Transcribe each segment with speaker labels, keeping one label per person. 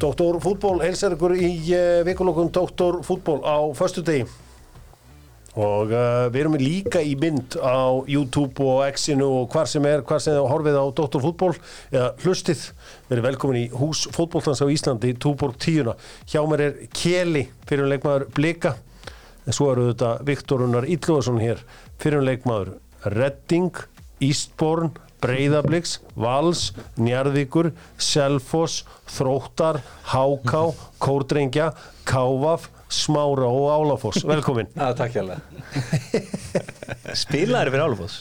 Speaker 1: Dóttór fútból heilsar ykkur í uh, vikulokkum Dóttór fútból á föstudegi og uh, við erum líka í mynd á YouTube og X-inu og hvar sem er, hvar sem þið horfið á Dóttór fútból eða hlustið, við erum velkomin í hús fútbóltans á Íslandi, Túborg 10 hjá mér er Keli fyrir um leikmaður Blika en svo eru þetta Viktor Unnar Illuvarsson hér fyrir um leikmaður Redding Ístborn, Breiðabliks, Vals, Njarðvíkur, Selfoss, Þróttar, Háká, Kórdrengja, Kávaf, Smára og Álafoss. Velkomin.
Speaker 2: Já, takk hérlega.
Speaker 3: Spilaður fyrir Álufoss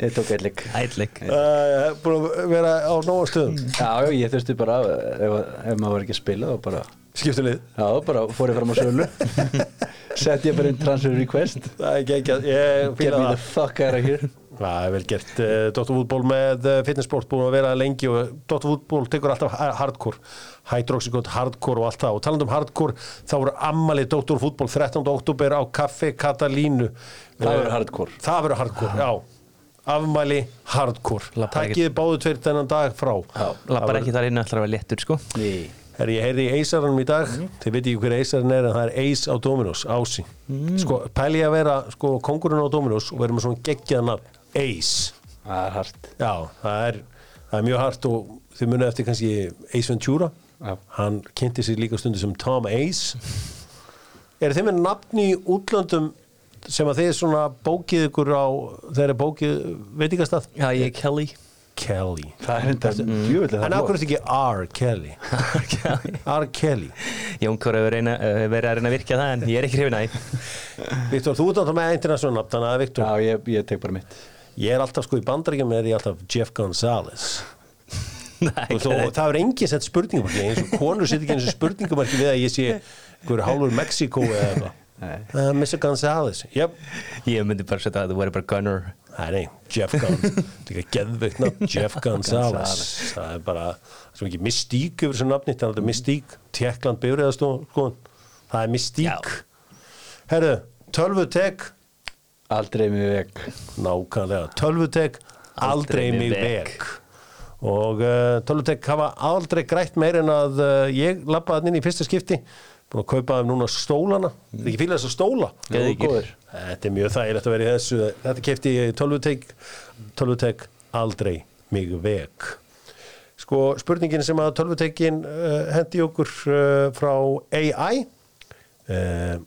Speaker 2: Ég tók eitthvað.
Speaker 3: Ætleik
Speaker 1: Uh, búin að vera á nóga stöðum.
Speaker 2: Já, já, ég þurfti bara, ef, ef maður var ekki að spila, þá bara,
Speaker 1: Skiptilið.
Speaker 2: já, þá bara fór ég fram á sölu. Sett ég bara inn transfer request.
Speaker 1: Það er ekki ekki að ég
Speaker 2: Get
Speaker 1: fýla
Speaker 2: me the
Speaker 1: það.
Speaker 2: fuck out of here.
Speaker 1: Það er vel gert. Uh, Dr. Woodball með eh, fitnessport búin að vera lengi og Dr. Woodball tekur alltaf ha- hardcore. Hydroxycont, hardcore og allt það. Og talandi um hardcore, þá voru ammali Dr. Woodball 13. oktober á Café Catalínu.
Speaker 2: Það verður hardcore.
Speaker 1: Það verður hardcore, já Afmæli hardcore
Speaker 3: Labbar ekki-
Speaker 1: Takkið báðu tveir þennan dag frá
Speaker 3: Lappar ekki þar inn ætlar að vera léttur sko
Speaker 2: Ný.
Speaker 1: Herri, ég heyrði í eisaranum í dag Þið veit ekki hver eisarinn er en það er eis á Dominos Ási Sko, pæli ég að vera sko, kongurinn á Dominos og verðum með svona geggjaðan nafn Eis
Speaker 2: Það er hard.
Speaker 1: Já, það er, það er mjög hart og þið munið eftir kannski Ace Ventura
Speaker 2: Já.
Speaker 1: Hann kynnti sér líka stundu sem Tom Ace Er þið með nafn í útlöndum sem að þið svona bókið ykkur á þeirra bókið veitingastað?
Speaker 3: Já, ég er Kelly
Speaker 1: Kelly
Speaker 2: Það er enda djúvillig
Speaker 1: Mm. En
Speaker 2: það
Speaker 1: akkur er þetta ekki R. Kelly R. Kelly
Speaker 3: Jón Kóra hefur reyna- eh, verið að reyna að virkja það en ég er ekki hrifin að því
Speaker 1: Viktor, þú ert alltaf með international nafn þannig að
Speaker 2: Já,
Speaker 1: Viktor
Speaker 2: ég, ég tek bara mitt.
Speaker 1: Ég er alltaf sko í bandaríkjum er ég alltaf Jeff Gonzalez
Speaker 3: Nei,
Speaker 1: og þó, það er engin sett spurningamarki eins og konur sitt ekki eins og spurningamarki við að ég sé einhver hálfur Mexiko eða eitthvað uh, Mr. Gonzalez Jep,
Speaker 3: Ég myndi bara setja að þú væri bara Gunner
Speaker 1: það er nei, Jeff Gonzalez það er geðveikt nafn, Jeff Gonzalez það er bara, það er svo ekki mystík yfir þessu nafni, það er alltaf mystík Tjekkland bifræðastón, það er mystík Herru, tölvutek
Speaker 2: Aldrei mjög veg.
Speaker 1: Nákvæmlega, tölvutek aldrei
Speaker 3: Aldrei mig
Speaker 1: mig vekk og uh, tölvutek hafa aldrei grætt meir en að uh, ég lappaði hann inn í fyrsta skipti búin að kaupa þeim núna stólana þetta er ekki fyrir þess að stóla
Speaker 3: Geðvíkir.
Speaker 2: góður.
Speaker 1: þetta er mjög þægilegt að vera í þessu þetta kefti ég í tölvutek tölvutek aldrei mig vekk sko spurningin sem að tölvutekin uh, hendi okkur uh, frá AI uh,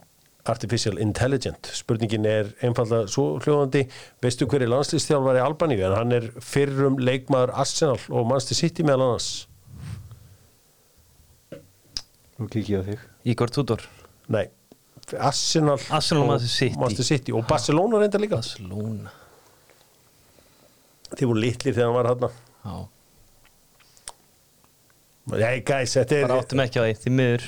Speaker 1: Artificial Intelligent spurningin er einfalda svo hljóðandi veistu hver er landslýstjálfari Albaníu en hann er fyrrum leikmaður Arsenal og Manchester City meðal annars
Speaker 2: Nú kikið ég á þig.
Speaker 3: Igor Tudor
Speaker 1: nei, Arsenal,
Speaker 3: Arsenal og
Speaker 1: og
Speaker 3: Manchester City.
Speaker 1: Manchester City og Barcelona reyndar líka
Speaker 3: Barcelona
Speaker 1: þið voru litlir þegar hann var hann
Speaker 3: Já
Speaker 1: hey guys, þetta er
Speaker 3: Bara áttum ekki á því Þið miður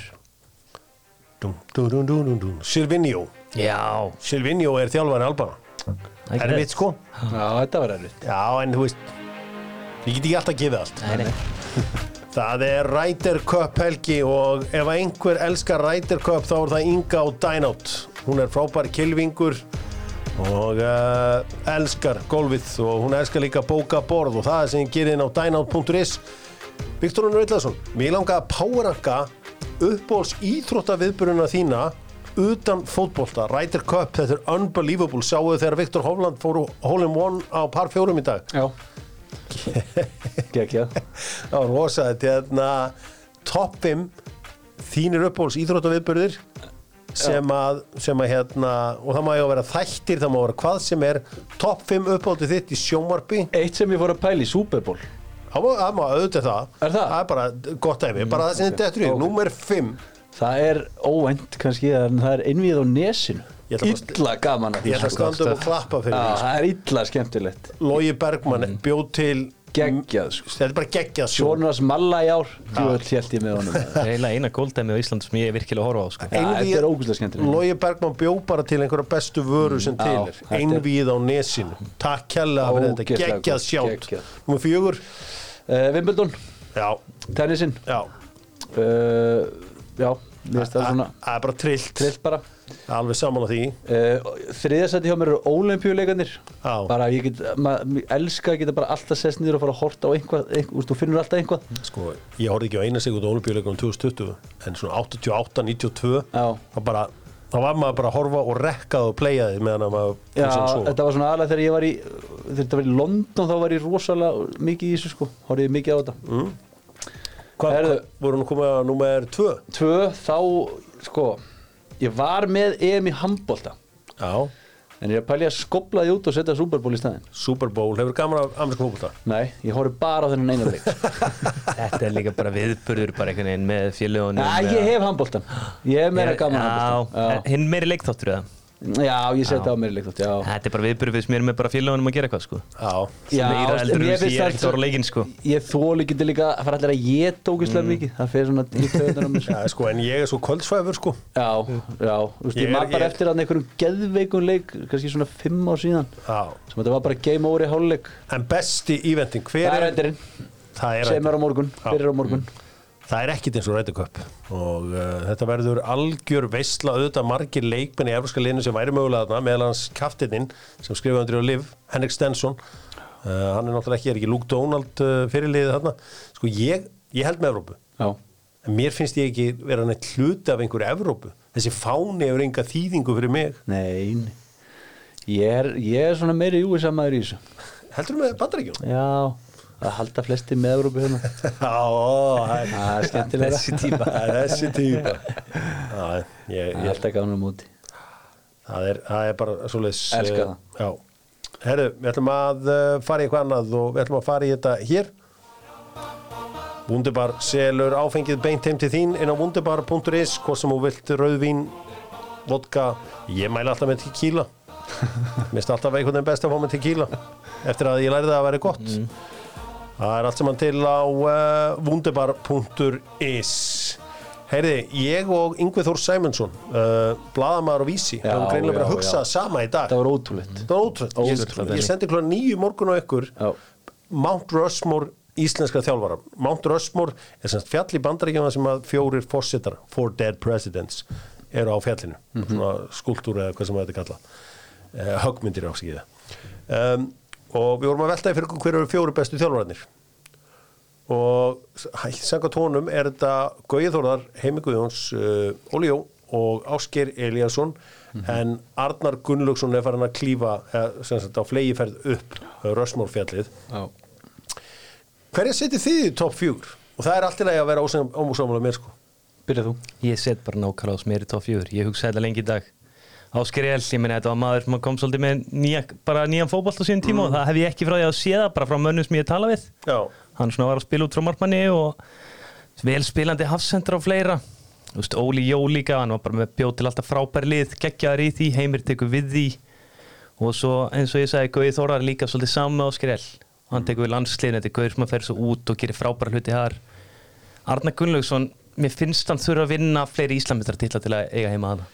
Speaker 1: Dum, dum, dum, dum, dum, dum. Silvinio
Speaker 3: Já
Speaker 1: Silvinio er þjálfari Albana
Speaker 3: Ekki
Speaker 1: erfitt
Speaker 3: rétt.
Speaker 1: sko
Speaker 2: Já, þetta var erfitt.
Speaker 1: já, en þú veist ég get ekki alltaf gefið allt
Speaker 3: sko. Nei, nei
Speaker 1: Það er Ryder Cup helgi og ef einhver elskar Ryder Cup þá er það Inga og Dynout. Hún er frábær kilvingur og uh, elskar golfið og hún elskar líka að bóka borð og það er sem ég gerir inn á dynout.is. Viktor Unnar Villarsson, mér langar að páranka uppbóls íþróttaviðburuna þína utan fótbolta, Ryder Cup, þetta er unbelievable, sjáu þegar Viktor Hovland fór hole in one á par fjórum í dag.
Speaker 2: Já. Gekkjað.
Speaker 1: Það var rosa, þetta er þarna topp 5 þínir uppbóls íþróttaviðburðir sem að, sem að hérna og það má ég að vera þættir, það má vera hvað sem er topp 5 uppbóltið þitt í sjónvarpi
Speaker 2: Eitt sem ég fór að pæla í Super Bowl.
Speaker 1: það má- það má auðvitað það
Speaker 2: Er það? Mm,
Speaker 1: er bara gott dæmi, bara það sem þetta eftir í
Speaker 2: ok.
Speaker 1: Númer 5
Speaker 2: Það er óvænt kannski, en það er innvíð á nesinu.
Speaker 1: Ég ætla bara-
Speaker 2: Illa gaman að
Speaker 1: Ég ætla að
Speaker 2: sko.
Speaker 1: standa upp og klappa fyrir
Speaker 2: Já, Mm.
Speaker 1: því
Speaker 2: það er illa skemmtilegt.
Speaker 1: Logi Bergmann bjóð til
Speaker 2: Geggjað, sko.
Speaker 1: Þetta er bara geggjað sjón
Speaker 2: Sjónars Malla í ár, djúvel held ég með honum.
Speaker 3: Það er eiginlega eina góldæmi á Ísland sem ég er virkilega að horfa á sko
Speaker 2: Já, þetta er ógustlega skemmtilegt.
Speaker 1: Logi Bergmann bjó bara til einhverja bestu vöru sem til
Speaker 2: Mm, Já,
Speaker 1: er,
Speaker 2: þetta er-
Speaker 1: einvíð á nesinu takk kjærlega fyrir þetta,
Speaker 2: Ógeðslega
Speaker 1: geggjað
Speaker 2: gott,
Speaker 1: sjátt
Speaker 2: geggjað.
Speaker 1: Númer fjögur,
Speaker 2: Uh, Wimbledon,
Speaker 1: já,
Speaker 2: tennisinn.
Speaker 1: já
Speaker 2: Uh, já, mér finnst það svona
Speaker 1: það er bara trillt
Speaker 2: trillt bara.
Speaker 1: alveg saman á því
Speaker 2: uh, þriðasæti hjá mér eru ólimpíuleikarnir
Speaker 1: Á.
Speaker 2: bara ég get, maður elska að geta bara alltaf sest niður og fara að horta á einhvað, einhvað úst, þú finnur alltaf einhvað
Speaker 1: sko, ég horfði ekki á eina sekund á olimpíuleikunum 2020 en svona 88, 92
Speaker 2: Já.
Speaker 1: þá bara, þá var maður bara að horfa og rekkaði og playaði meðan að maður
Speaker 2: Já,
Speaker 1: fannst hann svo.
Speaker 2: þetta var svona aðlega þegar ég var í þetta var í London þá var ég rosalega mikið í þessu sko, horfið mikið á þetta
Speaker 1: Hvað,
Speaker 2: Herðu.
Speaker 1: hvað, voru hún komið að númer 2?
Speaker 2: Tvö, þá sko ég var með EM í handbolta
Speaker 1: Já,
Speaker 2: en ég er að pælja að skopla því út og setja Super Bowl í staðinn
Speaker 1: Super Bowl, hefur gaman af amerískum fólkvölda?
Speaker 2: Nei, ég horfði bara á þennan einu leik
Speaker 3: Þetta er líka bara viðburður bara einhvern veginn með fjölugunum
Speaker 2: Já, ég hef handbóltan Ég hef meira gaman
Speaker 3: Já,
Speaker 2: handbóltan
Speaker 3: hinn meiri leiktáttur eða
Speaker 2: já. já, ég setja á meira leikþátt Já,
Speaker 3: Þetta er bara viðburður við smérum með bara fjölugunum að gera eitthvað sko
Speaker 1: Já,
Speaker 2: já
Speaker 3: Meira
Speaker 2: ást-
Speaker 3: eldur en
Speaker 2: mér
Speaker 3: þessi,
Speaker 2: finnst
Speaker 3: ég er
Speaker 2: það-
Speaker 3: ekkert ára leikinn sko
Speaker 2: Ég þóli getur líka að fara allir að ég tókislega mikið Það fer svona í töðunar á mér sko.
Speaker 1: Já, sko, en ég er svo kvöldsvæfur, sko
Speaker 2: Já, já, þú veist,
Speaker 1: Ég
Speaker 2: ég
Speaker 1: er-
Speaker 2: man bara
Speaker 1: ég-
Speaker 2: eftir að einhverjum geðveikum leik kannski svona fimm ár síðan
Speaker 1: Já,
Speaker 2: sem þetta var bara game over í hálfleik
Speaker 1: en besti íventin, hver
Speaker 2: Það er
Speaker 1: er,
Speaker 2: endurinn,
Speaker 1: það, er
Speaker 2: sem er á morgun,
Speaker 1: Já. Mm.
Speaker 2: fyrir á morgun
Speaker 1: það er ekkit eins og Ryder Cup og uh, þetta verður algjör veistla auðvitað margir leikmenn í Evróska liðinu sem væri mögulega þarna, meðal hans kaftinninn sem skrifaði undir á Liv, Henrik Stensson uh, hann er náttúrulega ekki, er ekki Luke Donald uh, fyrirliðið þarna, sko ég ég held með Evrópu,
Speaker 2: Já,
Speaker 1: en mér finnst ég ekki vera neitt hluti af einhverju Evrópu þessi fáni hefur enga þýðingu fyrir mig
Speaker 2: nei nei. Ég er, ég er svona meiri júi samaður í þessu
Speaker 1: heldur með Bandaríkjum?
Speaker 2: Já, að halda flesti með Európi hérna
Speaker 1: Já, ó, það er-
Speaker 2: Það er skemmtilega
Speaker 3: Þessi tíma.
Speaker 1: Það er þessi típa Já, ég,
Speaker 2: Það er
Speaker 1: ég,
Speaker 2: alltaf gaman á móti
Speaker 1: það, er, það er bara svoleiðis
Speaker 2: Elska
Speaker 1: eh,
Speaker 2: það.
Speaker 1: Já, herru, við ætlum að eh, fara í eitthvað annað og við ætlum að fara í þetta hér Wunderbar selur áfengið beint heim til þín inn á wunderbar.is hvort sem þú vilt rauðvín, vodka ég mæla alltaf með tequila mér finnst alltaf einhvern veginn best að fá með tequila eftir að ég lærði það að vera gott
Speaker 2: Mm.
Speaker 1: það er allt saman til á uh, wunderbar.is Heyriði, ég og Yngvi Þór Sæmundsson uh, blaðamaður og vísi
Speaker 2: Já,
Speaker 1: hefum greinlega verið að
Speaker 2: já,
Speaker 1: hugsa
Speaker 2: já.
Speaker 1: sama í dag
Speaker 2: Það var ótrúleitt
Speaker 1: það var ótrúð
Speaker 2: Ótrúlegt.
Speaker 1: ég, ég sendi klokkan nýju morgun á ykkur
Speaker 2: Já,
Speaker 1: Mount Rushmore íslenska þjálfara Mount Rushmore er semst fjall í bandaríkjum sem að fjórir fórsetar Four Dead Presidents eru á fjallinu svona skúltúr eða hvað sem þetta er kallað uh, högmyndir áskýða um, og við vorum að veltaði fyrir okkur hver eru fjóri bestu þjálfararnir og sanga tónum er þetta Gauði Þórðar, Heimi Guðjóns uh, Óli Jó og Ásker Eliasson en Arnar Gunnlaugsson er farin að klífa eh, sem sagt á flegiferð upp Rösmórfjallið
Speaker 2: já
Speaker 1: Hverja setið þið í topp fjúr? Og það er allt í lagi að vera ómúsámála mér sko.
Speaker 2: Byrja þú
Speaker 3: Ég set bara nákvæmlega á sméri top 4 Ég hugsaði þetta lengi í dag Ásker Ell, ég meina þetta var maður sem kom svolítið með nýja, bara nýjan fótbolt á síðan tíma og það hef ég ekki frá því að sé það, bara frá mönnum sem ég tala við
Speaker 1: Já,
Speaker 3: hann svona var að spila út frá markmanni og vel spilandi hafsendra og fleira Þú veist, Óli Jó líka, hann var bara með bjóð til alltaf frábær lið, geggjaðar í því, heimir tekur við því og svo eins og ég sagði Gauði Þórar er líka svolítið saman með Óskar Ell hann tekur við landsliðin, þetta er Gauður sem að fer svo út og gerir frábæra hluti þar Arnar Gunnlaugsson, mér finnst hann þurfa að vinna fleiri íslamitar titla til að eiga heima hana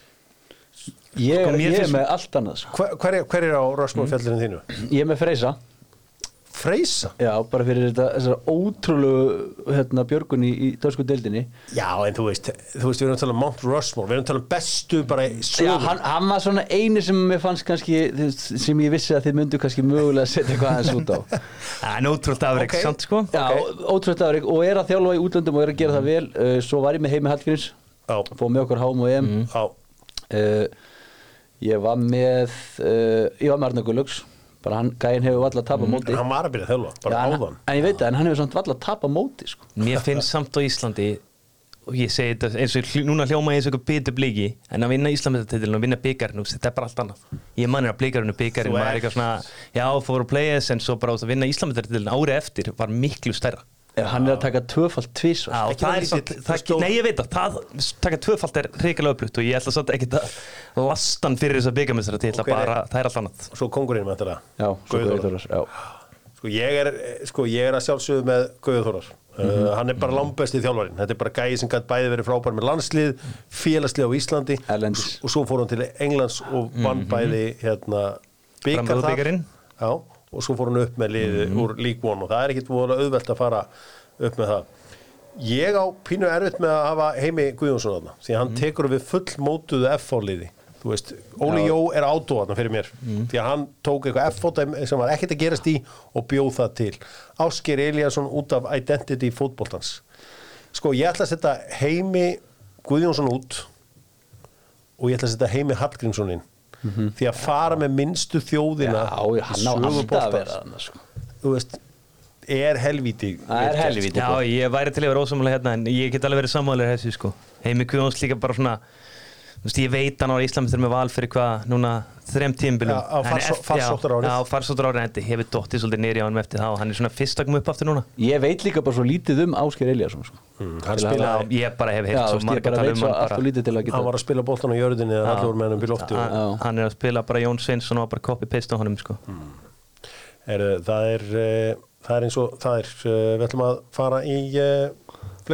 Speaker 2: Ég,
Speaker 3: Sko, mér
Speaker 2: ég er
Speaker 3: finnst-
Speaker 2: með allt annað sko.
Speaker 1: hver, hver, er- hver er á rösmórfjallinu þínu?
Speaker 2: Ég er með Freysa
Speaker 1: Freysa?
Speaker 2: Já, bara fyrir þetta, þessar ótrúlegu hérna, björgun í, í dörsku deildinni
Speaker 1: Já, en þú veist, þú veist, við erum að tala um Mount Rushmore, við erum að tala um bestu bara í
Speaker 2: Já,
Speaker 1: sögur.
Speaker 2: hann, hann var svona eini sem mér fannst kannski þú veist, sem ég vissi að þið myndu kannski mögulega að setja eitthvað aðeins út á
Speaker 3: Það er nótrúlt afreg,
Speaker 1: Ok.
Speaker 3: samt sko
Speaker 2: Já, okay. ótrúlega afreg og er að þjálfa í útlöndum og er að gera það vel uh, svo var ég með Heimi Hallgríms
Speaker 1: Já, Mhm.
Speaker 2: fóð með okkur HM og EM
Speaker 1: já,
Speaker 2: uh, ég var með uh, ég var með Arna Gullöks bara hann, gæinn hefur valla að tapa móti
Speaker 1: Mhm. hann var að byrja að þjálfa, bara
Speaker 2: Já, en-
Speaker 1: áðan.
Speaker 2: en ég veit það, en hann hefur samt valla að tapa móti sko.
Speaker 3: Mér finnst samt á Íslandi og ég segi þetta eins og hl- núna hljóma ég eins og eitthvað bitur blíki en að vinna Íslandmyndatitilin og vinna byggarinn þetta er bara allt annað ég mannir að byggarinn og byggarinn
Speaker 1: Þú
Speaker 3: maður er
Speaker 1: ert-
Speaker 3: eitthvað svona já, fór að playa þess en svo bara að vinna Íslandmyndatitilin árið eftir var miklu stærra
Speaker 2: ef hann er að taka tvöfalt tvís
Speaker 3: Já,
Speaker 1: Ekki
Speaker 3: það
Speaker 1: það
Speaker 3: er
Speaker 1: lítið,
Speaker 3: samt,
Speaker 1: það
Speaker 3: það
Speaker 1: stór-
Speaker 3: stóð... nei ég veit að það, taka tvöfalt er reikalega upplutt og ég ætla samt ekki að lasta hann fyrir þess að byggarmestara til
Speaker 1: Og hver er-
Speaker 3: bara, það er allt annað
Speaker 1: Og svo kongurinn með þetta.
Speaker 2: já, svo
Speaker 1: Guðþór.
Speaker 2: Guðþór já.
Speaker 1: Sko, ég er, eh, sko, ég er að sjálfsögðu með Gauði Þórar. Uh, hann er bara langbesti þjálfarinn. Þetta er bara gæði sem gæti bæði verið frábær með landslið, félagslið á Íslandi
Speaker 2: Erlendis.
Speaker 1: og svo fór hann til Englands og vann bæði hérna byggar
Speaker 3: Framburður bikarinn.
Speaker 1: Já, og svo fór hann upp með liði úr League One og það er ekkit voru auðvelt að fara upp með það. Ég á pínu erfitt með að hafa heimi Guðjónsson þarna, því að hann tekur við fullmótuðu F-fáliði þú veist, Óli
Speaker 2: Já.
Speaker 1: Jó er átóðan fyrir mér, því að hann tók eitthvað F-fóta sem var ekkert að gerast í og bjóð það til. Ásker Eliasson út af identity fótboltans sko, ég ætla að setja heimi Guðjónsson út og ég ætla að setja heimi Hallgrímsson inn því að fara með minnstu þjóðina
Speaker 2: Mhm. Já, hann á
Speaker 1: í sögu
Speaker 2: alltaf að
Speaker 1: boltans,
Speaker 2: vera hann sko.
Speaker 1: þú veist, er helvíti
Speaker 2: Það er helvítið
Speaker 3: Já, ég væri til að vera ósamála hérna en ég get alveg verið sammálaður þessu sko Heimi Guðjóns líka bara svona þú veist, ég veit hann á Íslamistur með val fyrir hvað núna þrem tímbilum
Speaker 1: Já, á farsó- farsóttarárið.
Speaker 3: Já, á farsóttarárið en þetta hefur dottið svolítið nýri á hann eftir það og hann er svona fyrst að koma upp aftur núna
Speaker 2: Ég veit líka bara svo lítið um Ásker Eliasson sko.
Speaker 1: Mm, hann
Speaker 2: Til að-
Speaker 1: spilaði-
Speaker 3: Já, Ég bara hef
Speaker 2: Já,
Speaker 3: heyrt
Speaker 2: þú
Speaker 3: svo
Speaker 2: veist, ég
Speaker 3: marga
Speaker 2: bara
Speaker 3: tala
Speaker 2: veit
Speaker 3: um
Speaker 2: svo
Speaker 3: hann
Speaker 2: allt og
Speaker 3: bara
Speaker 2: lítið til að geta
Speaker 1: hann var að spila boltan á jörðinni eða allir voru með hann upp í lofti og-
Speaker 3: Hann- Hann er að spila bara Jón Sveinsson og bara copy-paste á honum sko
Speaker 2: Mm.
Speaker 1: Heyrðu, það er eh, það er eins og það er eh, við ætlum að fara í eh,
Speaker 2: En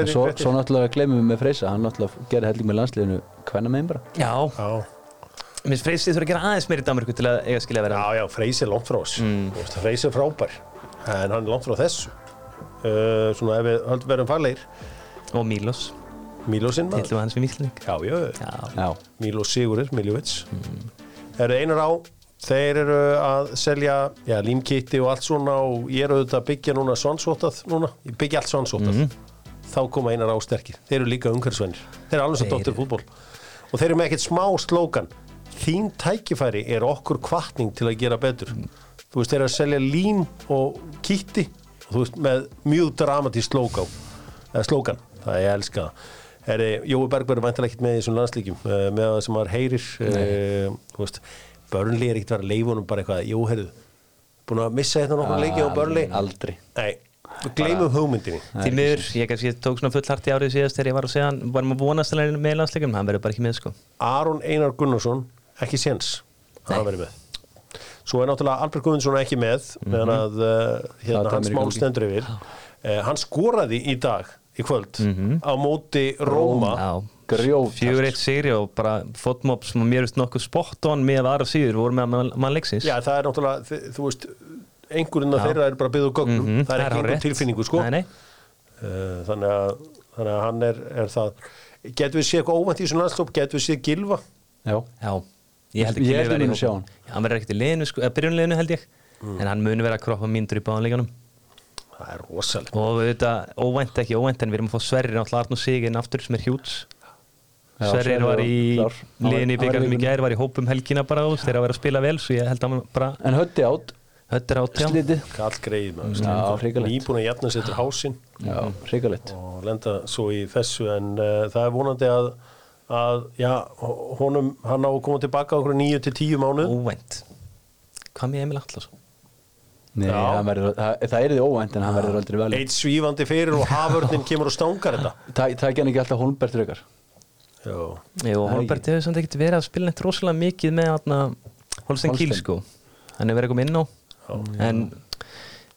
Speaker 1: fleiri
Speaker 2: svo,
Speaker 1: fréttir.
Speaker 2: svo náttúrulega glemum við með Freysa Hann náttúrulega gerði helling með landsliðinu Hvenna með bara
Speaker 3: Já,
Speaker 1: Já,
Speaker 3: minnst Freysi þurfa að gera aðeins meir í Danmarku til að eiga skilja að vera
Speaker 1: já, já, Freysi er langt frá oss mm. Freysi er frábær en hann er langt frá þessu uh, svona ef við höldum verðum farleir
Speaker 3: og Mílos,
Speaker 1: Mílósinn maður
Speaker 3: tillum hans við Mísling
Speaker 1: Já, já,
Speaker 3: Já,
Speaker 2: Já,
Speaker 1: Míló Sigurður, Míljóvits eru einar á þeir eru að selja já, límkitti og allt svona og ég eru auðvitað að byggja núna svansvotað núna, ég byggja allt svansvotað þá koma einar á sterkir, þeir eru líka umhverfisvennir þeir eru alveg svo
Speaker 3: Þeir-
Speaker 1: dóttir fútból og þeir eru með ekkert smá slókan þín tækifæri er okkur kvartning til að gera betur þú veist, þeir eru að selja lím og kitti og þú veist, með mjög dramatísk slóká eða slókan, það ég elska það Heri, Jói Bergberg er væntanlega ekkert með í þessum landslíkjum eh, með það sem maður heyrir eh, þú veist, Börnli er ekkert verið að leifa honum bara eitthvað, jú, heyrðu búin að missa hérna
Speaker 2: Ah,
Speaker 1: nokkur leiki á Börnli
Speaker 2: aldrei.
Speaker 1: Nei, við gleymum hugmyndinni
Speaker 3: Því miður, ég kannski tók svona full hart í árið síðast þegar ég var að segja hann, varum að vonast að hann með landsleikum, hann verður bara ekki með sko.
Speaker 1: Aron Einar Gunnarsson ekki séns að hann verið með svo er náttúrulega Albert Guðmundsson ekki með meðan að uh,
Speaker 2: Það
Speaker 1: hérna,
Speaker 2: er
Speaker 1: hans
Speaker 2: Ameríku
Speaker 1: mál
Speaker 2: líka.
Speaker 1: stendur yfir uh, hann skoraði í dag í kvöld á móti Róma
Speaker 3: Já,
Speaker 2: Grjótart.
Speaker 3: Fjögur eitt sigri og bara fotmob sem mér veist nokkuð spott on með aðra síður voru með mann, mannleiksins.
Speaker 1: já það er náttúrulega þi- þú veist einhverjum af
Speaker 3: Já.
Speaker 1: þeirra er bara byggðu gögnum
Speaker 3: Mhm,
Speaker 1: það er ekki
Speaker 3: hárrétt.
Speaker 1: einhver tilfinningu sko
Speaker 3: Nei, nei.
Speaker 1: Uh, þannig, að, þannig að hann er, er það getum við séð eitthvað óvænt í svona landslóp getum við séð Gilva
Speaker 2: já
Speaker 3: Já, ég
Speaker 2: Ég
Speaker 3: held ekki
Speaker 2: held ég
Speaker 3: verði í
Speaker 2: muni
Speaker 3: hópnum.
Speaker 2: sjá hann.
Speaker 3: Já, hann verður ekkert í liðinu, sko, eða byrjunliðinu held ég, en hann muni vera að kroppa myndur í báðanleikunum.
Speaker 1: það er rosalegt
Speaker 3: Og þetta, óvænt ekki óvænt, en við erum að fá Sverrir náttúrulega Arnur Sigin aftur sem er hjúts.
Speaker 2: Já,
Speaker 3: Sverrir
Speaker 2: Sverrir
Speaker 3: var í
Speaker 2: var klár. Hann var-
Speaker 3: liðinu í
Speaker 2: hann var í
Speaker 3: byggarnum í
Speaker 2: leiknum.
Speaker 3: gær, var í hópum helgina bara og þeir að vera að spila vel, svo ég held að hann bara
Speaker 2: En hötti átt,
Speaker 3: höttir átt hjá.
Speaker 2: slitið
Speaker 1: kall greið
Speaker 2: Já, hrikalegt.
Speaker 1: nýbúin að jafna sér til hásinn
Speaker 2: Já, hrikalegt
Speaker 1: og lenda svo í þessu en uh, það er vonandi að, að já, honum, hann á að koma tilbaka okkur nýju til tíu mánuð
Speaker 3: óvænt hvað með Emil Atlasson
Speaker 2: Nei,
Speaker 1: Já.
Speaker 2: hann verður- það það er því óvænt en hann verður aldrei vel
Speaker 1: eitt svífandi fyrir og haförnin kemur og stangar þetta
Speaker 2: Það það ekki hann ekki alltaf Holmberg frekar
Speaker 1: já,
Speaker 3: Jú,
Speaker 2: Nei.
Speaker 3: Holbert hefur samt ekkert verið að spila neitt rosalega mikið með hana, Holstein
Speaker 2: Holstein.
Speaker 3: Kiel sko hann hefur verið að koma inn á en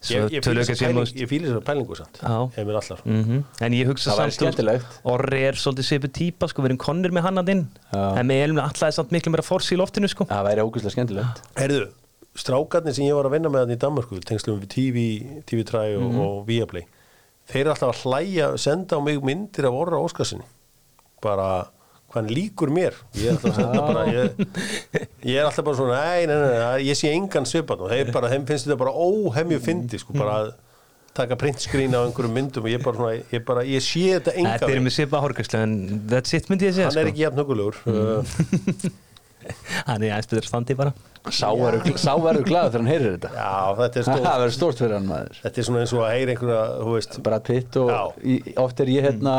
Speaker 3: svo
Speaker 1: ég, ég
Speaker 3: tölum
Speaker 1: fýlir
Speaker 3: við
Speaker 1: þess að
Speaker 3: kannski um,
Speaker 1: pælingu, ég fíla þessa pælingu samt
Speaker 3: Já.
Speaker 1: Emil Allar
Speaker 3: Mhm. en ég hugsa
Speaker 2: Það væri
Speaker 3: samt þú veist,
Speaker 2: skemmtilegt.
Speaker 3: Orri er svolítið svipu típa sko, við erum konnir með hann að inn
Speaker 2: Já.
Speaker 3: en með Elm alltaf er samt miklu meira forsi í loftinu sko
Speaker 2: Það væri ógustlega skemmtilegt
Speaker 1: Herðu, strákarnir sem ég var að vinna með hann í Danmarku, tengslum við TV, TV3 og,
Speaker 3: Mhm.
Speaker 1: og Viaplay, þeir eru alltaf að hlæja, senda á mig myndir af orra Óskarsinni. Bara, hvað hann líkur mér. Ég er alltaf að senda bara, ég, ég er alltaf bara svona, nei, nei, nei, nei ég sé engan svipan og þeir bara, þeim finnst þetta bara óhemju fyndi, sko, bara að taka printscreen á einhverjum myndum og ég bara svona, ég bara, ég sé þetta enga.
Speaker 3: þetta er með svipa hórgæslu en that's it myndi ég segja
Speaker 1: Hann er
Speaker 3: sko Mhm.
Speaker 1: ekki jafn hugulegur. Uh,
Speaker 3: hann er aðeins betur standi bara
Speaker 2: Sá verður sá verður glaður þegar hann heyrir þetta
Speaker 1: já, þetta er
Speaker 2: Það
Speaker 1: stór.
Speaker 2: verður stórt fyrir hann maður
Speaker 1: Þetta er svona eins og að heyra einhverja, þú veist,
Speaker 2: Bara pitt og
Speaker 1: Já.
Speaker 2: í- oft er ég hérna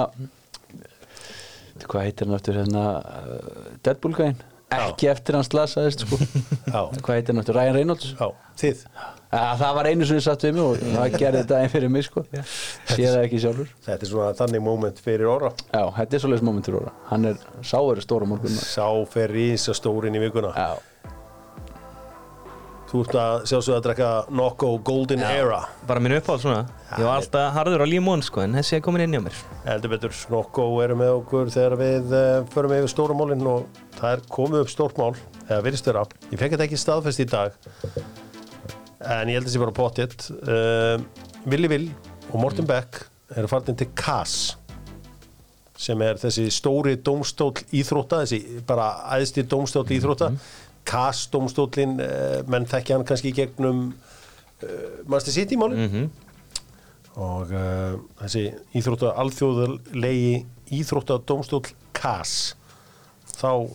Speaker 2: Veitu Hvað heitir hann aftur hérna uh, Deadpool gæinn Ekki eftir hann slasaðist sko
Speaker 1: já,
Speaker 2: Hvað heitir hann aftur Ryan Reynolds
Speaker 1: já, þið.
Speaker 2: Að Það var einu sem ég satt við mig og það gerði þetta einn fyrir mig sko Sér það ekki sjálfur
Speaker 1: Þetta er svona þannig moment fyrir orra
Speaker 2: Já, þetta er svolítið momentur óra Hann er sáveru stóra morgun maður.
Speaker 1: Sá fer rísa stórin í vikuna
Speaker 2: Já,
Speaker 1: Þú ert að sjálfsögðu að drekka Nocco Golden Era
Speaker 3: bara minn uppáð svona ég var alltaf harður á límón sko en þessi er komin inn hjá mér
Speaker 1: Heldur betur, Nocco eru með okkur þegar við uh, förum yfir stóra málinn og það er komið upp stórt mál eða virðist vera, ég fekk þetta ekki staðfest í dag en ég held að sé bara pottitt Eh, uh, Willi Vill og Morten Beck eru farin til Kass sem er þessi stóri dómstól íþrótta, þessi bara æðsti dómstól íþrótta mm -hmm. Kass dómstólin, menn þekki hann kannski í gegnum uh, Master City máli og uh, þessi íþrótta alþjóðulegi íþrótta dómstól Kass þá,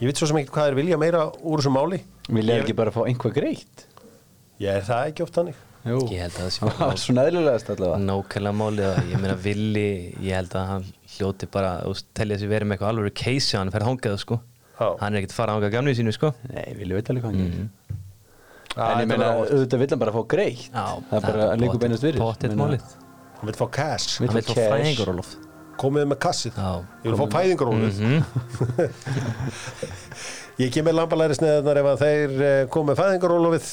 Speaker 1: ég veit svo sem ekkert hvað er vilja meira úr þessu máli
Speaker 2: Vilja
Speaker 1: Ég-
Speaker 2: ekki bara fá einhvað greitt?
Speaker 1: Ég er það ekki oft hannig
Speaker 2: Jú,
Speaker 3: Ég held að það sé Mm.
Speaker 2: það var svona eðlilegast allavega
Speaker 3: Nákvæmlega málið að ég meina villi ég held að hann hljóti bara þú veist, telja sér verið með eitthvað alvöru case hann fer hangað sko
Speaker 1: Já.
Speaker 3: hann er ekkert fara hangað gamnið sínu sko
Speaker 2: Nei, viljum við tala hvað hann
Speaker 3: Mm.
Speaker 2: gerir
Speaker 1: Ah,
Speaker 2: En ég
Speaker 1: þetta
Speaker 2: meina,
Speaker 1: var óvart.
Speaker 2: auðvitað vill hann bara fá greitt Það er bara að líka beinast fyrir
Speaker 3: Pottet
Speaker 2: Ég meina,
Speaker 3: málið
Speaker 1: Hann vil fá cash
Speaker 2: Vill
Speaker 3: Hann vil
Speaker 2: fá
Speaker 3: fá
Speaker 2: cash.
Speaker 3: fræðingur Olof
Speaker 1: komið með kassið
Speaker 3: Já. Mhm.
Speaker 1: ég vil fá pæðingarólið ég kem með lambalæri sneðarnar ef að þeir eh, komið fæðingarólið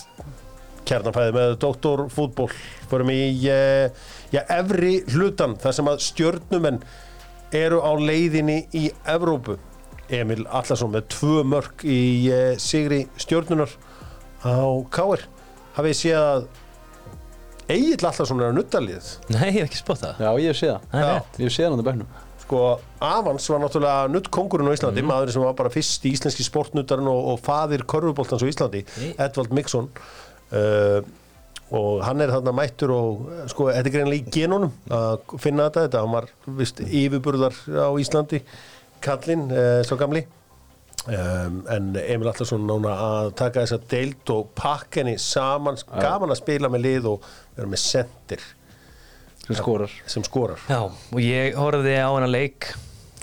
Speaker 1: kjarnafæði með doktorfútból förum í eh, já, efri hlutan þar sem að stjörnumenn eru á leiðinni í Evrópu Emil Allarsson með tvö mörk í eh, sigri stjörnunar á Káir hafið þið séð að Egil Allarsson er að nutta liðið
Speaker 3: Nei, ég hef ekki spott það
Speaker 2: Já, ég hef séð það
Speaker 3: Það er
Speaker 1: Já.
Speaker 3: rétt
Speaker 2: Ég hef séð hann á bænum
Speaker 1: sko, Avans var náttúrulega nuttkongurinn á Íslandi, maður sem var bara fyrst íslenski sportnuttarinn og, og faðir körfuboltans á Íslandi,
Speaker 3: Nei.
Speaker 1: Edvald Mikksson uh, og hann er þarna mættur og eh, sko, þetta er greinlega í genunum að finna þetta, þetta hann var vist yfirburðar á Íslandi kallinn, uh, svo gamli um, en Emil Allarsson núna að taka þessa deild og pakka henni saman, gaman að spila með lið og vera með sendir
Speaker 2: Sem skorar
Speaker 1: sem skorar
Speaker 3: Já, og ég horfði á hennar leik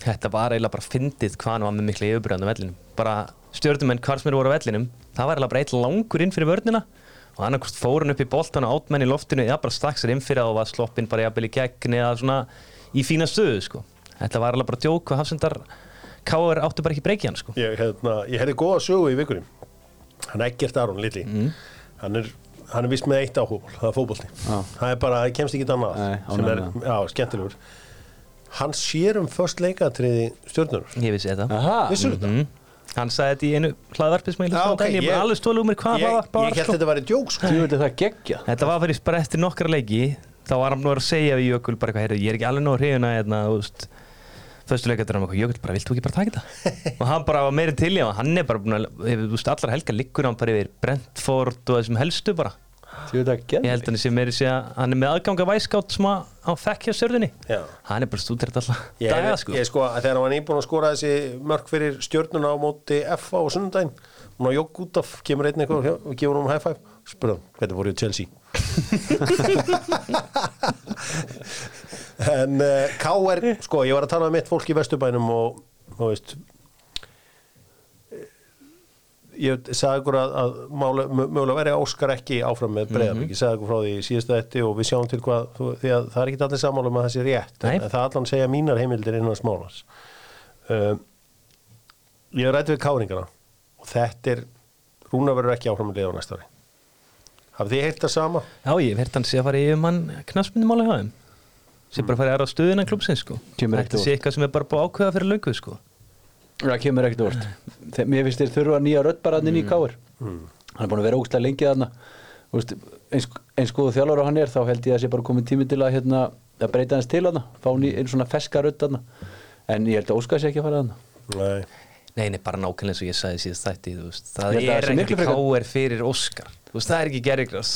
Speaker 3: Þetta var eiginlega bara fyndið hvað hann var með mikla yfirbyrðan á vellinum bara stjórnumenn hvar sem er voru á vellinum það var eiginlega bara eitt langur inn fyrir vörnina og annarkvist fór hann upp í boltan og átmenn í loftinu eða bara stakk sér inn fyrir það og var sloppinn bara jafnvel í gegn eða svona í fína stöðu sko. Þetta var eiginlega bara djók hvað hafsendar Káur áttu bara ekki breykið hann sko.
Speaker 1: ég, hérna, ég hefði góða sögu í vikunni hann er ekkert Aron Lilli
Speaker 3: Mm.
Speaker 1: hann er, hann er vist með eitt áhúból það er fótbolti,
Speaker 2: Já.
Speaker 1: hann er bara, hann kemst ekki annað að,
Speaker 2: Nei, á
Speaker 1: sem er,
Speaker 2: nefnum
Speaker 1: já, skemmtilegur hann sér um först leikatriði stjörnur
Speaker 3: Ég vissi þetta
Speaker 2: Aha
Speaker 1: vissur þetta?
Speaker 3: mm. Hann sagði þetta í einu hlaðvarpi sem ég
Speaker 1: Já,
Speaker 3: hlusta
Speaker 1: ok,
Speaker 3: okay, ég er
Speaker 1: ég-
Speaker 3: bara alveg stólu um mér hvað
Speaker 1: ég,
Speaker 3: það var
Speaker 1: ég held þetta var í djók sko.
Speaker 2: Þú veit að það geggja
Speaker 3: Þetta var fyrir bara eftir nokkra leiki þá var hann nú að segja við Jökul bara eitthvað, heyrðu, ég er ekki alveg nóg hrifin að hérna, þú veist fyrstu leikadur hann var eitthvað, Jökul bara, vilt þú ekki bara taka þetta? og hann bara var meiri til í hann, hann er bara búin að, hefur, þú veist, allar helgar liggur hann bara yfir Brentford og þessum helstu bara
Speaker 2: Þú veit að það
Speaker 3: ég
Speaker 2: geggja
Speaker 3: held hann sé meiri sé að hann er með aðganga væskátt sem að hann fekk hjá sörðinni
Speaker 1: Já.
Speaker 3: hann er bara stúdrætt alltaf
Speaker 1: Ég,
Speaker 3: daga
Speaker 1: hef-
Speaker 3: sko
Speaker 1: ég sko, að þegar hann var nýbúin að skora þessi mörk fyrir stjörnuna á móti FA og sunnudaginn hún á Jók út af, kemur einn eitthvað og og gefur hún high five, spurðum, hvernig voru í Chelsea en uh, K.R. sko, ég var að tala um mitt fólk í Vesturbænum og, þú veist eh, ég sagði ykkur að, að mála, mö- mögulega veri Óskar ekki áfram með
Speaker 3: Mhm.
Speaker 1: breyðarbygg, ég sagði ykkur frá því í síðasta þetta og við sjáum til hvað, þú, því að það er ekki allir sammála um að það sé rétt,
Speaker 3: Nei.
Speaker 1: en það allan segja mínar heimildir innan smálans um, ég rætti við Káringana og þetta er Rúna verður ekki áfram með liða á næsta ári hafið þið heilt það sama?
Speaker 3: já, ég hef hert hann sé að fara yfir mann knassmyndumála hjá þeim sé bara að fara í aðra stöðina klubbsins sko
Speaker 2: Kemur ekkert
Speaker 3: þetta sé eitthvað sem er bara búið að ákveða fyrir löngu sko
Speaker 2: Það kemur ekkert orð Þeim, Mér finnst þér þurfa nýja rödd bara hann inn í káir Hann er búin að vera ógstlega lengi þarna Þú veist, eins, eins góðu þjálfur á hann er þá held ég að sé bara komin tími til að, hérna, að breyta hans til hann fá ný, einu svona feska rödd hann en ég held að Óskar sé ekki að fara hann
Speaker 1: Nei.
Speaker 3: Nei, nei, bara nákvæmlega eins og ég sagði síðast þætti þú veist, það
Speaker 2: Ég held að það
Speaker 3: er
Speaker 2: sé miklu
Speaker 3: ekki
Speaker 2: frekar-
Speaker 3: káer fyrir Óskar þú veist, það er ekki gerðigras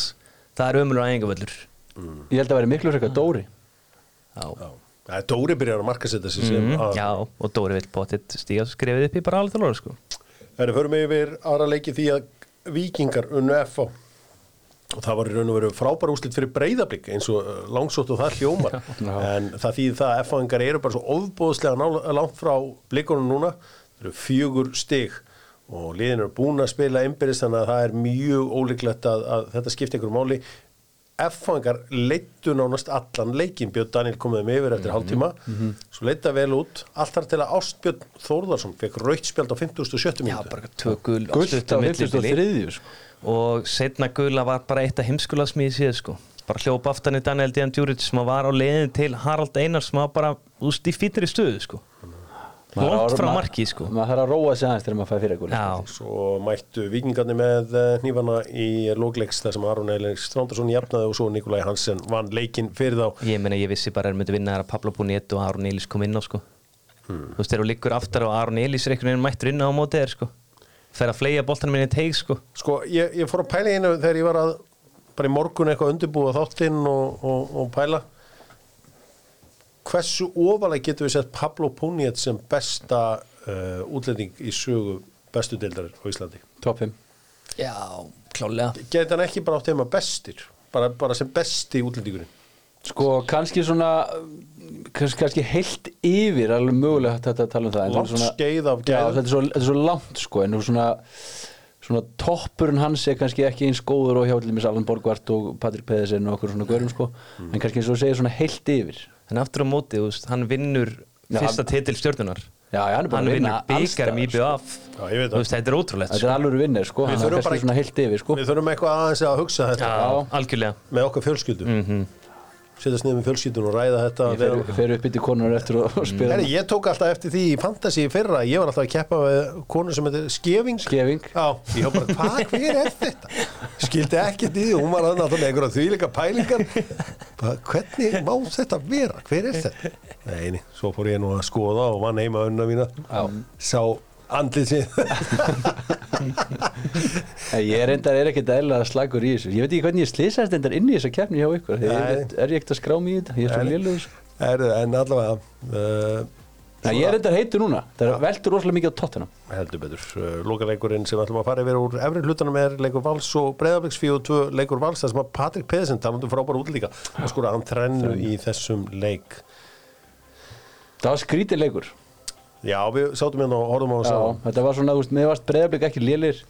Speaker 3: það er ömulega æðingavöllur
Speaker 2: Ég held að vera miklu frekar Dóri
Speaker 3: já.
Speaker 1: Já. Það er Dóri byrjar að marka setja sig sem
Speaker 3: Mm,
Speaker 1: að
Speaker 3: já, og Dóri vill bóttið stíga skrifið upp í bara alveg þalvara sko.
Speaker 1: Það förum yfir aðra leiki því að vikingar unnu FH og það var í raun og veru frábæra úslit fyrir breyðablík eins og uh, langsótt og það hljómar
Speaker 2: Já.
Speaker 1: en það þýðir það að FH-ingar eru bara svo ofbóðslega ná- langt frá blikunum núna það eru fjögur stig og liðin eru búin að spila einbyrðis þannig að það er mjög ólíklegt að, að þetta skipti einhverju máli F-fangar leittu nánast allan leikin Björn Daniel komið um yfir eftir hálftíma svo leita vel út allt þar til að Ástbjörn Þórðarsson fekk raukt spjald á 50.70
Speaker 3: já,
Speaker 1: mínútu
Speaker 3: bara tökul
Speaker 2: Gullt á 53 sko.
Speaker 3: og setna gula var bara eitt af heimskulasmiði síðan sko. bara hljópa aftan í Daniel Díðan Djuric sem var á leiðin til Harald Einars sem var bara úst í fýttir í stöðu sko.
Speaker 2: Maður
Speaker 3: Langt
Speaker 2: á-
Speaker 3: frá
Speaker 2: ma-
Speaker 3: marki, sko.
Speaker 2: Maður þarf að róa sig aðeins þegar maður fær fyrir gulið
Speaker 3: Já,
Speaker 1: Svo mættu vikingarnir með eh, hnífana í lókleiks þar sem Aron Eilir Strandarsson jafnaði og svo Nikolai Hansen vann leikinn fyrir þá
Speaker 3: ég meina ég vissi bara að þeir myndu vinna þar að Pablo Boniet og Aron Elís kom inn á sko
Speaker 1: Hmm.
Speaker 3: þú veist þegar þú liggur aftar og Aron Elís er einhvern veginn mættur inn á mótið þér sko fer að fleia boltanum minni teig sko
Speaker 1: Sko, ég, ég fór að pæla í einu þegar ég var að bara í morgun eitthvað undirbúa þáttinn og, og, og pæla hversu ofalega getum við sett Pablo Puniet sem besta uh, útlending í sögu bestu deildarir á Íslandi
Speaker 2: Top 5
Speaker 3: Já, klálega
Speaker 1: Getur hann ekki bara átt heima bestir bara, bara sem besti útlendingurinn
Speaker 2: Sko kannski svona kannski, kannski heilt yfir alveg mögulega hægt að tala um það en
Speaker 1: Langt
Speaker 2: svona-
Speaker 1: skeið af
Speaker 2: Já,
Speaker 1: gæðum.
Speaker 2: þetta er, svo, þetta er svo langt sko en nú svona, svona toppurinn hans er kannski ekki eins góður og hjá til dæmis Alan Borgvart og Patrik Pedersen og okkur svona görum sko
Speaker 3: Mm.
Speaker 2: en kannski eins og þú segir svona heilt yfir
Speaker 3: En aftur á mótið, þú veist, hann vinnur
Speaker 2: Já,
Speaker 3: fyrsta
Speaker 2: hann-
Speaker 3: titil stjörnunar
Speaker 2: Já, já, hann er búin
Speaker 3: Hann
Speaker 2: að vinna
Speaker 3: vinnur byggar
Speaker 2: alls
Speaker 3: mjög
Speaker 2: staðar,
Speaker 3: af
Speaker 1: Já, ég veit
Speaker 3: Þú veist, þetta er ótrúlegt
Speaker 2: Þetta
Speaker 3: sko
Speaker 2: er alveg vinnir sko, hann er
Speaker 1: þurfum
Speaker 2: kannski
Speaker 1: bara-
Speaker 2: svona heilt yfir sko
Speaker 1: Við þurfum eitthvað aðeins að hugsa
Speaker 3: Já,
Speaker 1: þetta
Speaker 3: algjörlega
Speaker 1: með okkar fjölskyldu mm -hmm. setjast niður með fjölskyldun og ræða þetta
Speaker 2: Mhm. Ég
Speaker 1: vera-
Speaker 2: fer, fer upp yfir konunar eftir og, og spila
Speaker 1: Mm. Herri, ég tók alltaf eftir því í fantasy í fyrra ég var alltaf að keppa með konu sem heitir Skeving
Speaker 2: Skefing
Speaker 1: Já, ég var bara, hvað, hver er þetta? Skildi ekkert í því, hún var aðnátt með einhverja þvíleika pælingar bara, hvernig má þetta vera, hver er þetta? Nei, nei, svo fór ég nú að skoða og vann heima önna mína
Speaker 2: Já.
Speaker 1: sá andlið sér
Speaker 2: Nei, Ég er endar er ekkert eðlilega slagur í þessu Ég veit ekki hvernig ég slisaðist endar inn í þessa keppni hjá ykkur Þegar
Speaker 1: Nei.
Speaker 2: ég veit- Er ég ekkert að skrá mig í þetta? Ég er svo
Speaker 1: Nei.
Speaker 2: lélugur
Speaker 1: Herru, en allavega uh,
Speaker 2: Nei, Ég er endar heitur núna Það er veltur rosalega mikið á tottenum
Speaker 1: heldur betur, uh, lokaleikurinn sem við ætlum að fara yfir úr efri hlutanum er leikur vals og breyðabliks 4-2 leikur vals þar sem að Patrik Pedersen talandum frábæra útlíka og skora hann trennu í þessum leik
Speaker 2: Það var skrítið leikur
Speaker 1: Já, við sátum hérna og horfum á
Speaker 2: Já,
Speaker 1: þess að
Speaker 2: Þetta var svona, þú veist, meðvast breyðarblik ekki lélir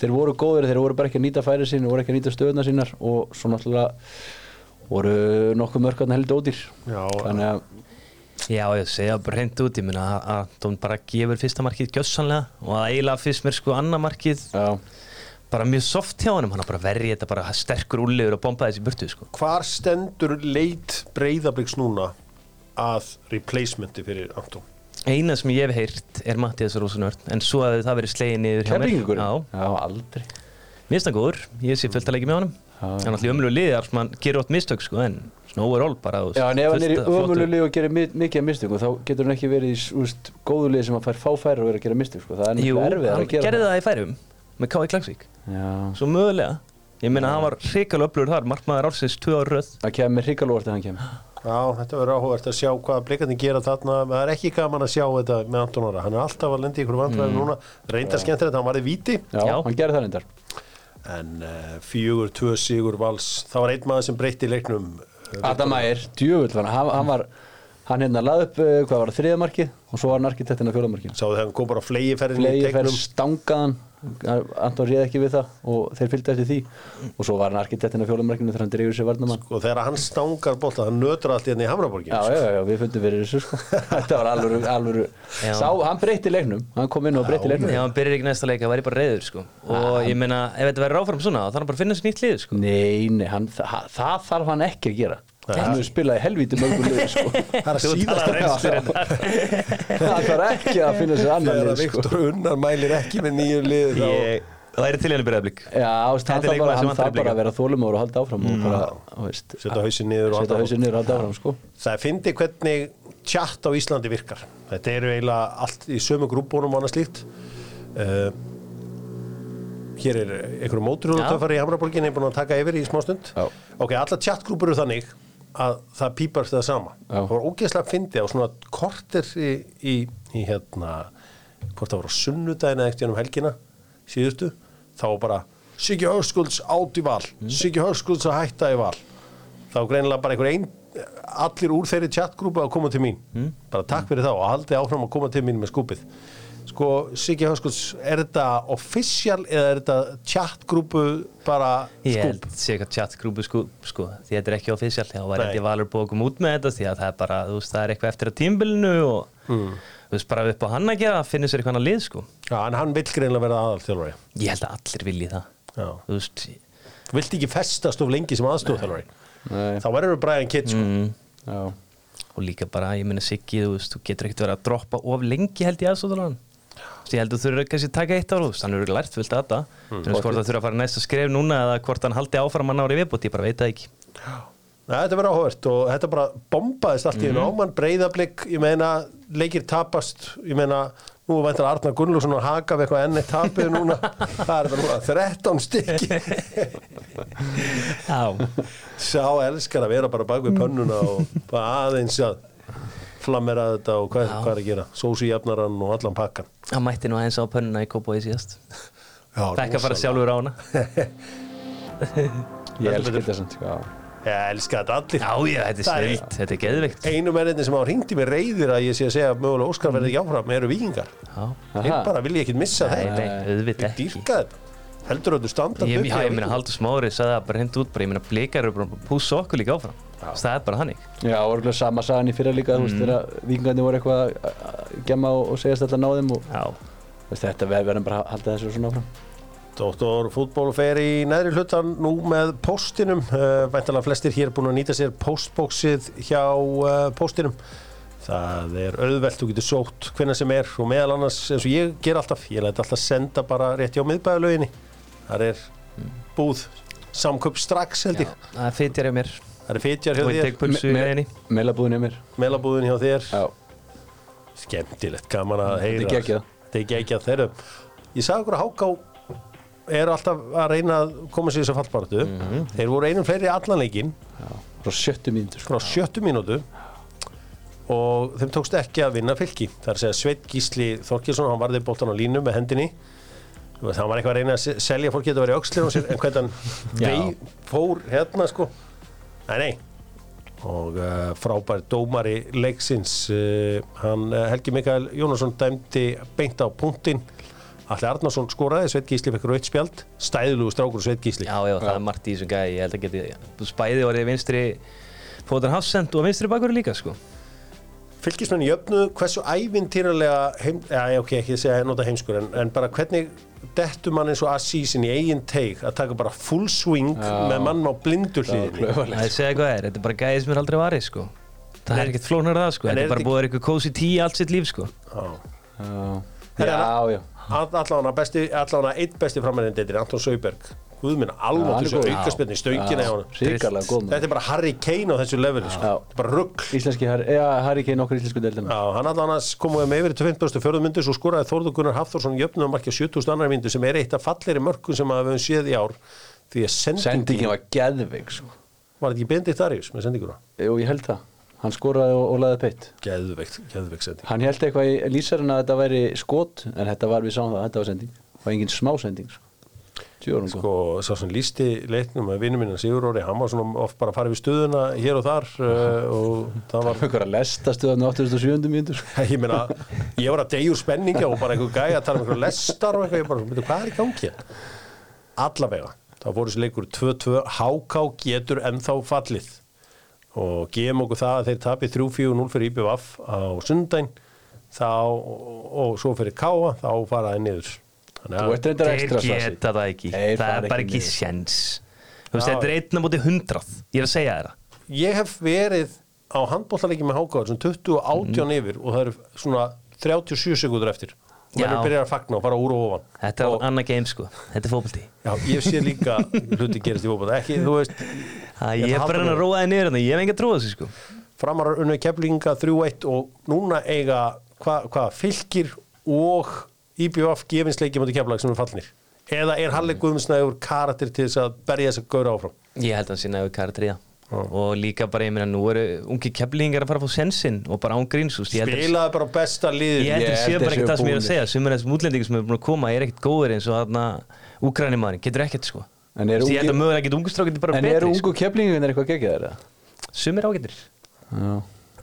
Speaker 2: Þeir voru góðir, þeir voru bara ekki að nýta færi sín voru ekki að nýta stöðuna sínar og svo náttúrulega voru nokkuð mörkarna heldur ódýr
Speaker 1: Já,
Speaker 2: Þannig að
Speaker 3: Já, ég segja bara hreint út, ég meina að- að Dón bara gefur fyrsta markið gjössanlega og að eiginlega fyrst mér sko annað markið
Speaker 2: Já,
Speaker 3: bara mjög soft hjá hann, hann er bara verið þetta bara sterkur úllegur og bombaði þessi burtu sko.
Speaker 1: Hvar stendur leit breyðabliks núna að replacementi fyrir Anton?
Speaker 3: Eina sem ég hef heyrt er Mattias Rósunörn en svo að það verið slegið niður hjá mér.
Speaker 2: Keflingur?
Speaker 3: Já,
Speaker 2: Já, aldrei
Speaker 3: mér finnst það góður, ég sé fullt að leikja með honum
Speaker 2: Já.
Speaker 3: Hann er alltaf ömulegu liðar sem hann gerir ótt mistök sko en svona overall bara þú veist,
Speaker 2: Já, en ef hann er í
Speaker 3: fullt af flottum-
Speaker 2: ömululegi og gerir mi- mikið af mistökum þá getur hann ekki verið í s- úst, góðu liði sem að fær fáfæri og er að gera mistök sko. það er
Speaker 3: Jú,
Speaker 2: nefnilega erfið að
Speaker 3: hann
Speaker 2: gera
Speaker 3: gerði það í færum með K.I. Klagsvík
Speaker 2: Já. sko.
Speaker 3: svo mögulega, ég meina hann var hrikalega öflugur þar, markmaður ársins tvö ára röð
Speaker 2: það kemur hrikalórt að hann kemur
Speaker 1: Já, þetta verður áhugavert að sjá hvað blikandi gera þarna, það er ekki gaman að sjá þetta með Anton Ára, hann er alltaf að lenda í ykkur vandræðum núna, reynda skemmt þetta, hann var í viti
Speaker 2: Já,
Speaker 3: Já.
Speaker 2: hann gerði það reyndar
Speaker 1: en uh, fjögur, tvö sigur vals, það var einn maður sem breytti leiknum uh,
Speaker 2: Adam Ægir, djöfull var hann hann, hann var, hann hérna laði upp eh, hvað var það, þriðamarki og svo var hann arkitektin að fjólamarki
Speaker 1: sáðu þegar hann kom bara flegiferðin í
Speaker 2: Fleigi fær
Speaker 1: teiknum
Speaker 2: stangaðan Anton réð ekki við það og þeir fylgdu eftir því og svo var hann arkitektin að fjólamarkinu þegar hann dregur sér varnamann
Speaker 1: og þegar hann stangar bólta, hann nötur allt hérna í Hamraborgin
Speaker 2: Já, já, já, við fundum fyrir þessu sko. Þetta var alvöru, alvöru.
Speaker 3: Já.
Speaker 2: Sá, hann breytti leiknum, hann kom inn og breytti leiknum
Speaker 3: Já, hann byrjar ekki næsta leika, væri bara reyður sko og
Speaker 2: Ah.
Speaker 3: ég meina, ef þetta verður áfram svona þá þarf hann bara að finna sér nýtt lið sko
Speaker 2: Nei, nei, hann, það, það þarf hann ekki að gera Hann hefur spilað í helvíti mörgum liði sko.
Speaker 1: það er að
Speaker 3: Þú
Speaker 1: síðast
Speaker 3: talar reynslu reyndar.
Speaker 2: Hann þarf ekki að finna sér annan
Speaker 1: þegar
Speaker 2: lið
Speaker 1: að
Speaker 2: sko.
Speaker 1: Viktor Unnar mælir ekki með nýju lið þá
Speaker 3: Ég- Það er til henni byrjaðablík
Speaker 2: Já, ást, hann þarf bara,
Speaker 3: Þetta er leikmaður sem Mm.
Speaker 2: hann
Speaker 3: vantar
Speaker 2: þarf bara
Speaker 3: blika.
Speaker 2: að vera þólumóður og halda áfram og bara, þú veist,
Speaker 1: Setja hausinn niður og halda
Speaker 2: setja hausinn niður og halda áfram sko.
Speaker 1: Það er fyndið hvernig tjatt á Íslandi virkar. Þetta eru eiginlega allt í sömu grúbónum og annað slíkt. Uh, hér er einhverjum móturhjóðutöfari í Hamraborginni búin að taka yfir í smá stund.
Speaker 2: Já.
Speaker 1: Ok, alla tjattgrúpur eru þannig að það pípar það sama.
Speaker 2: Já.
Speaker 1: Það var ógeðslega fyndið á svona kortir í, í, í hérna, hvort það voru sunnudaginn eða eftir um helgina síðustu, þá var bara Siggi Hörskulds átt í val,
Speaker 2: Mm.
Speaker 1: Siggi Hörskulds að hætta í val þá greinilega bara einhver ein allir úr þeirri chatgrúpu að koma til mín
Speaker 3: Hmm?
Speaker 1: bara takk fyrir þá og haldið áfram að koma til mín með skúpið sko Siggi Höskuls, er þetta official eða er þetta chatgrúpu bara
Speaker 3: Ég
Speaker 1: skúp
Speaker 3: held sé eitthvað tjattgrúpu sko, sko því þetta er ekki official þá var
Speaker 1: Nei.
Speaker 3: held ég valur búið að koma út með þetta því að það er bara, þú veist, það er eitthvað eftir að tímbilinu og þú veist, bara upp á hann að gera að finna sér eitthvað annað lið sko
Speaker 1: já, en hann vill greinilega vera aðalþjálfari
Speaker 3: Ég held að allir vilji það
Speaker 1: Já.
Speaker 3: Þú veist,
Speaker 1: vilt ekki festast of lengi sem aðstofþjálfari
Speaker 2: Nei,
Speaker 1: þá verður við Brian Kitt sko.
Speaker 2: já
Speaker 3: og líka bara, ég meina Siggi, þú veist, þú getur ekkert verið að droppa of lengi held ég aðsóðalann Þú held að þú þurfir kannski að taka eitt ár þú veist, hann eru lært fullt að þetta mm. hvort það þurfa að fara næsta skref núna eða hvort hann haldi áfram að nári viðbúti, ég bara veit það ekki
Speaker 1: Nei, þetta verður áhört og þetta bara bombaðist allt í einu
Speaker 3: Mhm.
Speaker 1: ámann, breyðablík, ég meina, leikir tapast, ég meina, nú væntar Arnar Gunnlússon að haka við eitthvað enni tapið núna, það er þetta núna 13 stykki,
Speaker 3: Já,
Speaker 1: sá elskar að vera bara bak við pönnuna og bara aðeins að flammera þetta og hvað, hvað er að gera, sósujafnaran og allan pakkan.
Speaker 3: hann mætti nú aðeins á pönnuna í Kópói síðast
Speaker 1: Já,
Speaker 3: Fekk að fara
Speaker 1: rosalega.
Speaker 3: sjálfur á hana
Speaker 2: ég
Speaker 1: Heldur
Speaker 2: elskir
Speaker 1: betur.
Speaker 2: þetta samt já.
Speaker 1: Ég elska þetta allir.
Speaker 3: Já, já, þetta er
Speaker 1: Það er
Speaker 3: snilt, þetta er geðveikt
Speaker 1: Einu mennirni sem á hringti mér reyðir að ég sé að segja að mögulega Óskar verði ekki áfram eru vikingar.
Speaker 3: Já,
Speaker 1: Ég
Speaker 2: Aha.
Speaker 1: bara vil ég ekkert missa
Speaker 3: nei,
Speaker 1: þeim.
Speaker 3: nei,
Speaker 1: Ég
Speaker 3: auðvitað ekki
Speaker 1: dýrka þetta. Heldur þetta standa
Speaker 3: Ég, já, ég meina Haldur Smári sagði það bara hend út bara, ég meina blikar eru bara að pússa okkur líka áfram það er bara hannig
Speaker 2: já, orðlega sama sagan í fyrra líka þú
Speaker 3: Mm.
Speaker 2: veist, þegar vikingarnir voru eitthvað að- að gemma og, og segjast alltaf náðum og
Speaker 3: Já,
Speaker 2: þú veist, þetta verður verðum bara að halda þessu svona áfram
Speaker 1: Dóttor fútból fer í neðri hlutan nú með póstinum. Uh, Væntalega flestir hér búin að nýta sér póstbóksið hjá uh, póstinum. Það er auðvelt, þú getur sótt hvenna sem er og meðal annars eins og ég ger alltaf, ég læt alltaf senda bara rétt hjá miðbæðalöginni. Þar er búð samköp strax held ég.
Speaker 3: það er fytjar hjá mér
Speaker 1: Það er fitjar hjá
Speaker 3: og ég
Speaker 1: þér,
Speaker 3: tek pulsu
Speaker 2: Me-
Speaker 3: í
Speaker 2: me-
Speaker 3: veginni
Speaker 2: meilabúðin er mér
Speaker 1: meilabúðin hjá þér.
Speaker 2: já,
Speaker 1: Skemmtilegt, gaman að heyra
Speaker 2: þetta er geggjað
Speaker 1: Þetta er geggjað þeirra Ég sagði okkur að Háká er alltaf að reyna að koma sér þessu fallbaratu Þeir voru einum fleiri allanleikin
Speaker 2: frá sjöttu mínútur sko.
Speaker 1: frá sjöttu mínútu og þeim tókst ekki að vinna fylki það er að segja Sveit Gísli Þorkilsson hann varði boltan á línu með hendinni Þú veist, hann var eitthvað að reyna að se- selja fólki þetta var í öxlir og sér en hvernig hann
Speaker 2: Já.
Speaker 1: vei, fór hérna sko nei nei og uh, frábær dómari leiksins uh, hann uh, Helgi Mikael Jónasson dæmdi beint á punktinn Alli Arnarsson skoraði, Sveit Gísli fekk rautt spjald stæðlugu strákur Sveit Gísli
Speaker 3: Já, já, það er margt í þessum gæði, ég held að geti spæði orðið vinstri fótur hafsend og vinstri bakur líka, sko.
Speaker 1: Fylgismenn jöfnu, hversu ævintýralega heim, já, ok, ekki að segja að nota heimskur en, en bara hvernig dettur mann eins og Assísin í eigin teig að taka bara full swing
Speaker 2: Já.
Speaker 1: með mann á blinduhlýðinni
Speaker 3: Það er
Speaker 2: klöfalegt
Speaker 3: segja hvað er, þetta er bara gæði sem er aldrei varið, sko. Það er ekkert flóknar það, sko.
Speaker 1: En
Speaker 3: Þetta
Speaker 1: er
Speaker 3: er bara
Speaker 1: þetta
Speaker 3: búið að vera eitthvað kósi tíu allt sitt líf, sko.
Speaker 2: já, já, já
Speaker 1: allan að besti, allan að eitt besti framherjinn þetta er Anton Sauberg Guðminn, alveg
Speaker 2: hann
Speaker 1: þessu
Speaker 2: er góður.
Speaker 1: aukaspilni, stöngina í honum
Speaker 2: ríkarlega góð maður
Speaker 1: Þetta er bara Harry Kane á þessu leveli sko.
Speaker 2: Já.
Speaker 1: Þetta er bara rugg
Speaker 2: íslenski, Harry- já, Harry Kane okkur íslensku deildum
Speaker 1: Já, hann allan að komum við með yfir í 25. myndu svo skoraði Þórður Gunnar Hafþórsson jöfnum markja 70. annar myndu sem er eitt af fallegri mörkum sem að við höfum séð í ár því að sendingin
Speaker 2: sendingin var geðveik sko.
Speaker 1: Var þetta ekki Benedikt Arius með sendinguna?
Speaker 2: og ég held það hann skoraði og, og laði peitt
Speaker 1: Geðveikt, geðveikt sending.
Speaker 2: hann held eitthvað í lýsarinn að þetta væri skot en þetta var við sáum það, þetta var sending og engin smá sending sko. Tjórum, sko.
Speaker 1: Sko, sá sem lísti leiknum með vinnum minna Sigur Óri, hann var svona oft bara að fara við stöðuna hér og þar uh, og það var,
Speaker 2: einhverja lestastuðan 87. mínútur sko.
Speaker 1: ég meina, ég var að degjur spenninga og bara einhver gæja að tala um einhver lestar og eitthvað, ég bara, veitu, hvað er í gangi? hérna?" Allavega, það voru þessi leikur 2-2, HK getur ennþá fallið og gefum okkur það að þeir tapir 3-4-0 fyrir IBVF á sundæn þá, og, og svo fyrir Káa, þá fara þeir niður. Þannig að-
Speaker 2: þú ert reyndar
Speaker 3: Þeir
Speaker 2: ekstra slasið
Speaker 3: geta það ekki.
Speaker 2: Þeir
Speaker 3: það
Speaker 2: fara
Speaker 3: er bara
Speaker 2: ekki
Speaker 3: ekki
Speaker 2: niður.
Speaker 3: sjens. Þú veist,
Speaker 1: Já.
Speaker 3: þetta er einn á móti hundrað. Ég er að segja þér það.
Speaker 1: ég hef verið á handbóllarleiki með hákáður sem 20 um og 18
Speaker 3: Mm.
Speaker 1: yfir og það eru svona 37 sekúndur eftir og
Speaker 3: Já.
Speaker 1: það eru byrjar að fagna og fara úr og ofan
Speaker 3: Þetta er annað game, sko. Þetta er fókbalti.
Speaker 1: Já, ég sé líka hluti gerast í fótbolta ekki, þú veist, ætla
Speaker 3: Ég er
Speaker 1: að halda
Speaker 3: bara hann
Speaker 1: mér.
Speaker 3: að róa þið niður hann. Ég hef enga trú á þessu, sko.
Speaker 1: framarar unni keflinga 3-1 og núna eiga hvað hva, fylgir og IBF gefinsleiki mútið keflag sem er fallnir eða er
Speaker 3: Mm.
Speaker 1: Halli Guðmundsnæður karakter til þess að berja þess að gaura áfram
Speaker 3: Ég held að hann sé nægur karakter í það. Og líka bara, ég meina, nú eru ungi keflingar að fara að fá sensin og bara án gríns, þú veist, ég held að
Speaker 1: spilaði bara á besta liðið
Speaker 3: Ég held
Speaker 2: Ég
Speaker 3: að sé
Speaker 2: held að
Speaker 3: bara
Speaker 2: séu
Speaker 3: ekkert það sem ég er að
Speaker 2: búnir.
Speaker 3: segja Sumir af þessum útlendingum sem er búin að koma er ekkert góður eins og þarna Úkrænimæðurinn, getur ekkert sko
Speaker 2: En eru
Speaker 3: Þú veist, Ég held að
Speaker 2: ungi-
Speaker 3: mögulega getur ungustráð getur bara
Speaker 2: en eru
Speaker 3: betri sko.
Speaker 2: ungu keflingunir eitthvað geggjað þeirra?
Speaker 3: Sumir ágættir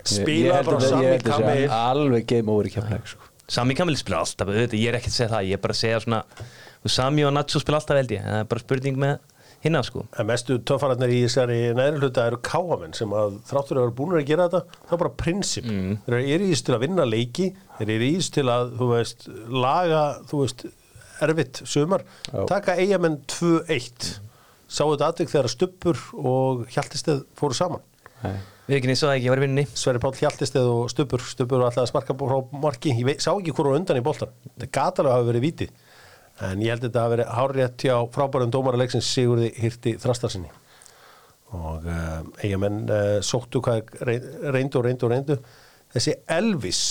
Speaker 1: Spila bara Sami Kamil.
Speaker 2: alveg game over í kefling sko.
Speaker 3: Sami Kamil spila alltaf, auðvitað, ég er ekkert að segja það Ég er bara að segja svona þú veist, Sami og Nacho spila alltaf held ég en Það er bara spurning með hinna sko
Speaker 1: En mestu töffararnir í þessari næri hluta eru káamenn sem að þráttur að vera búinur að gera þetta, það er bara prinsip. Þeir eru íst til að vinna leiki, þeir eru íst til að, þú veist, laga, þú veist, erfitt sumar.
Speaker 2: Já.
Speaker 1: Taka eigamenn 2-1, sáu þetta atvik þegar stuppur og hjaltisteð fóru saman.
Speaker 2: Nei.
Speaker 3: Vikinni svo það ekki, ég var í vinninni
Speaker 1: Sverri Páll Hjaltisteð og Stubur Stubur var alltaf að sparka frá marki ég veit, sá ekki hvora undan í boltan þetta gatalega hafa verið viti en ég held að þetta hafa verið hárétt hjá frábærum dómara leiksins Sigurði Hirti Þrastarsinni og uh, eigamenn uh, sóttu hvað rey- reyndu og reyndu og reyndu þessi Elvis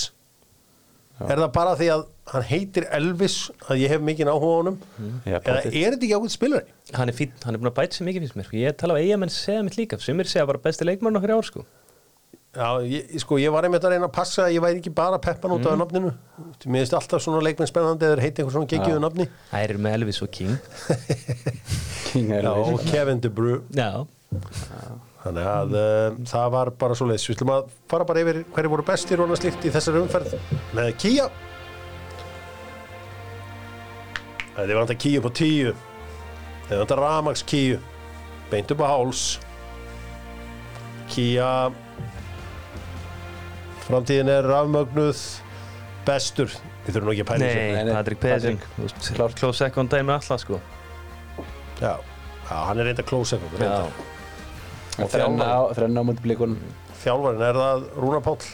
Speaker 1: er það bara því að hann heitir Elvis að ég hef mikinn áhuga á honum
Speaker 2: Já,
Speaker 1: eða er
Speaker 2: pottet.
Speaker 1: þetta ekki ákveð spilari?
Speaker 3: Hann er fín, hann er búin að bæta sér mikið fyrst mér sko. Ég tala á eigamenn segja mitt líka Sumir segja bara besti leikmann okkur í ár sko
Speaker 1: Já, ég, sko, ég var einmitt að reyna að passa að ég væri ekki bara peppan út af nafninu. Mér finnst alltaf svona leikmenn spennandi eða þeir heiti einhver svona geggiðu nafni.
Speaker 3: Það eru með Elvis og King
Speaker 2: King
Speaker 1: Já,
Speaker 2: Elvis
Speaker 1: og Kevin De Bruyne.
Speaker 3: Já,
Speaker 1: Þannig að uh, það var bara svo leiðis. Við slum að fara bara yfir hverju voru bestir og annað slíkt í þessari umferð með Kía. Þið var þetta Kía på tíu. Þið var þetta Ramax Kíu. Beint upp á háls. Kía. Framtíðin er rafmögnuð. Bestur. Við þurfum nú ekki að pæla í þessu.
Speaker 3: nei,
Speaker 2: Nei, nei,
Speaker 3: Patrik
Speaker 2: Patrik.
Speaker 3: Pedersen Klart klóð sekund dæmi alltaf sko
Speaker 1: Já. Já, hann er reynda klósekund.
Speaker 3: Já,
Speaker 1: og
Speaker 2: Þrenna
Speaker 1: þjálfari.
Speaker 2: á- þrenna á múti blíkun
Speaker 1: Þjálfarinn er það Rúna Páll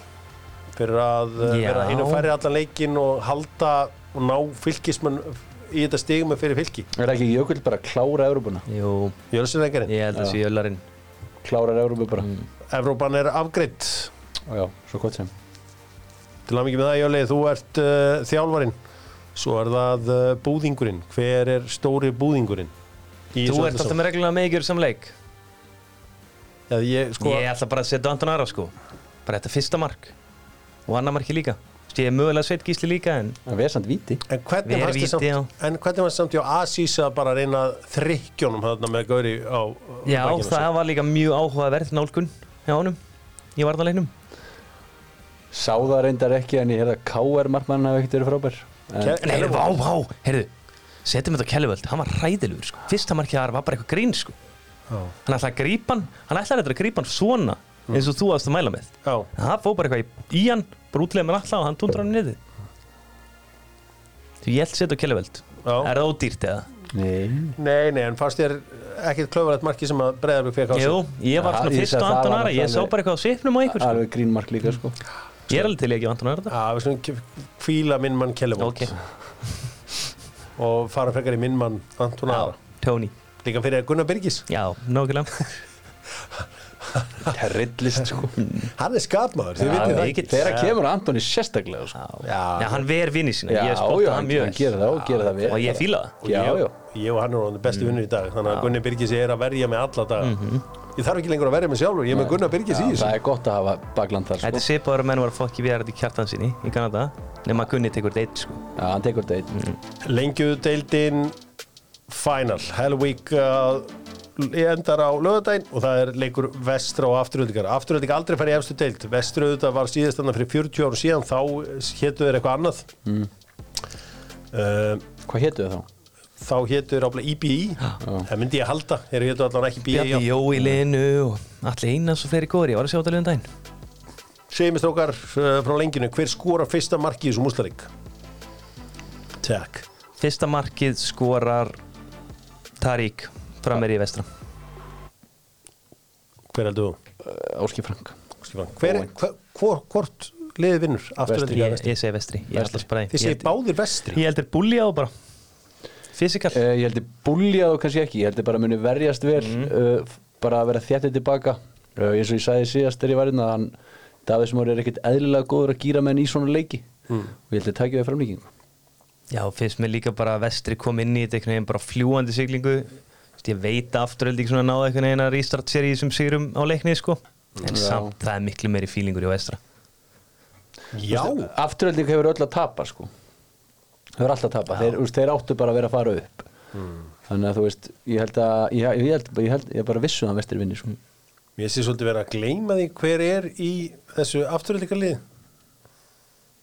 Speaker 1: fyrir að uh,
Speaker 3: Já.
Speaker 1: vera einu færi allan leikin og halda og ná fylgismenn í þetta stigum með fyrir fylgi.
Speaker 2: Er ekki Jökull bara að klára Európuna?
Speaker 3: jú,
Speaker 1: Jölsirleikarinn,
Speaker 3: ég held að
Speaker 2: Já.
Speaker 3: sé Jöllarinn
Speaker 2: Klárar Európu bara
Speaker 1: Evrópan er afgreitt.
Speaker 2: Mm. Já, svo gott sem
Speaker 1: Til að mikið með það Jöli, þú ert uh, þjálfarinn, svo er það uh, búðingurinn. Hver er stóri búðingurinn? í þessu öllu
Speaker 3: Þú ert alltaf
Speaker 1: saman?
Speaker 3: með reglulega meikjur sem leik
Speaker 1: Já, ég, sko,
Speaker 3: Ég ætla bara að setja Anton Ara sko Bara þetta fyrsta mark Og annar marki líka Þú veist, Ég er mögulega sveit gísli líka en
Speaker 2: En við erum samt víti
Speaker 1: En hvernig
Speaker 3: Við
Speaker 1: fannst þið
Speaker 3: víti, já.
Speaker 1: samt, en hvernig fannst þér samt hjá Asís að bara reyna að þrykkjónum þarna með Gauri á á
Speaker 3: Já,
Speaker 1: bakinu og
Speaker 3: það
Speaker 1: svo?
Speaker 3: var líka mjög áhugaverð nálgun hjá honum í varnalegnum
Speaker 2: Sá það reyndar ekki en ég heyrði að KR markmann hafi ekkert verið frábær en,
Speaker 1: Ke-
Speaker 3: Nei, heyrðu, vá, vá, heyrðu Setjum þetta á Kellivöld, hann var ræðilugur sko. Fyrsta markið þar var bara eitthvað grín sko.
Speaker 1: Já.
Speaker 3: Hann ætlaði að grípa hann, hann ætlaði reyndar að grípa hann svona
Speaker 2: Mm.
Speaker 3: eins og þú aðst að mæla með
Speaker 1: Já,
Speaker 3: En Það fóð bara eitthvað í, í hann, bara útlega með alltaf og hann tundra hann niður Því ég held setja á Kellivöld
Speaker 1: já.
Speaker 3: Er það ódýrt eða?
Speaker 2: Nei
Speaker 1: Nei, nei, en fannst þér ekkert klöfarlegt marki sem að Breiðarbygg fekk á sig?
Speaker 3: Jú, ég var
Speaker 2: Já,
Speaker 3: svona
Speaker 2: ég
Speaker 3: fyrst
Speaker 2: sagði
Speaker 3: á
Speaker 2: það
Speaker 3: Anton
Speaker 2: var
Speaker 3: Ara, ég sá
Speaker 2: náttúrulega-
Speaker 3: bara eitthvað á sifnum á einhver sko.
Speaker 2: Alveg grínmark líka sko
Speaker 3: Ég er alveg til í að gefa Anton Ara þetta
Speaker 1: Já, við skulum kvíla minn mann Kellevótt
Speaker 3: Ok,
Speaker 1: og fara frekar í minn mann Anton
Speaker 3: já,
Speaker 1: Ara.
Speaker 3: Tony
Speaker 1: Líka fyrir Gunnar Byrgis.
Speaker 3: Já, nákvæmlega
Speaker 2: Það rillist sko
Speaker 1: Hann er skapmaður, þið
Speaker 2: Já,
Speaker 1: vitið það.
Speaker 3: mikill.
Speaker 2: Þegar að kemur Antoni sérstaklega sko.
Speaker 3: Já,
Speaker 1: Já.
Speaker 3: já hann ver vinni sína,
Speaker 2: Já,
Speaker 3: ég
Speaker 2: já,
Speaker 3: spotta
Speaker 2: hann
Speaker 3: hann mjög vel.
Speaker 2: gerir það og gerir það vel. Sko.
Speaker 3: Og ég fíla það
Speaker 1: Og
Speaker 2: Já,
Speaker 1: ég,
Speaker 2: já. Mm.
Speaker 1: Ég og hann er orðin besti vinnur í dag, þannig að Gunnar Byrgis er að verja mig alla daga. Ég þarf ekki lengur að verja mig sjálfur, ég er með Gunnar Byrgis í þessu.
Speaker 2: Mhm. Það er gott að hafa bakland þar
Speaker 3: Þetta
Speaker 2: sko
Speaker 3: er svipaður að menn var að fokki við þetta í kjartan sinni í Kanada nema að Gunni tekur þetta eitt sko
Speaker 2: Já, hann tekur þetta einn
Speaker 1: Lengjudeildin Final, Hell Week uh, endar á lögadaginn og það er leikur vestra og afturöldingar afturöldingar aldrei fær í efstu deild vesturöldingar var síðast annar fyrir 40 árum síðan þá hétu þeir eitthvað annað mm.
Speaker 2: Hvað hétu þau þá?
Speaker 1: þá hétu þeir áfla IBI það myndi ég halda, þeir hétu allan ekki BI
Speaker 3: Bjarni
Speaker 1: já.
Speaker 3: Jó í linu og allir einas og fleiri góri, ég var að sjá þetta lögum daginn
Speaker 1: segjum við strókar uh, frá lenginu hver skora fyrsta marki í þessum úslarik Takk
Speaker 3: Fyrsta markið skorar Tarík frammeir í vestra
Speaker 1: hver heldur þú?
Speaker 2: Uh, Óski Frank
Speaker 1: Skifan. Hver, hver, hvor, hvort liðið vinnur afturöldingar
Speaker 3: Ég,
Speaker 1: vestri?
Speaker 3: ég segi vestri, ég held
Speaker 2: Vestri.
Speaker 3: að spara
Speaker 1: Þið segir báðir vestri
Speaker 3: Ég held er búli á bara Fysikal
Speaker 2: uh, Ég heldur búlja þá kannski ekki Ég heldur bara muni verjast vel uh, Bara að vera þjættið tilbaka uh, Eins og ég sagði síðast er ég varinn að hann Davís Móri er ekkert eðlilega góður að gýra menn í svona leiki Og ég heldur takja við framlíkingu
Speaker 3: Já, finnst mér líka bara að vestri kom inn í þetta einhvern veginn bara fljúandi siglingu Þú veist, ég veit að afturöldi ekki svona náða einhvern veginn að restart sér í þessum sigurum á leikni sko. en
Speaker 2: Já.
Speaker 3: samt það er miklu meiri fílingur hjá vestra
Speaker 1: Já,
Speaker 2: Afturölding hefur öll að tapa sko Hefur alltaf að tapa þeir, úst, þeir áttu bara að vera að fara upp Þannig að þú veist Ég held að Ég, ég, held, ég, held, ég er bara vissu að hann vestir vinni sko.
Speaker 1: mér sé svolítið verið að gleyma því hver er í þessu afturöldingarlið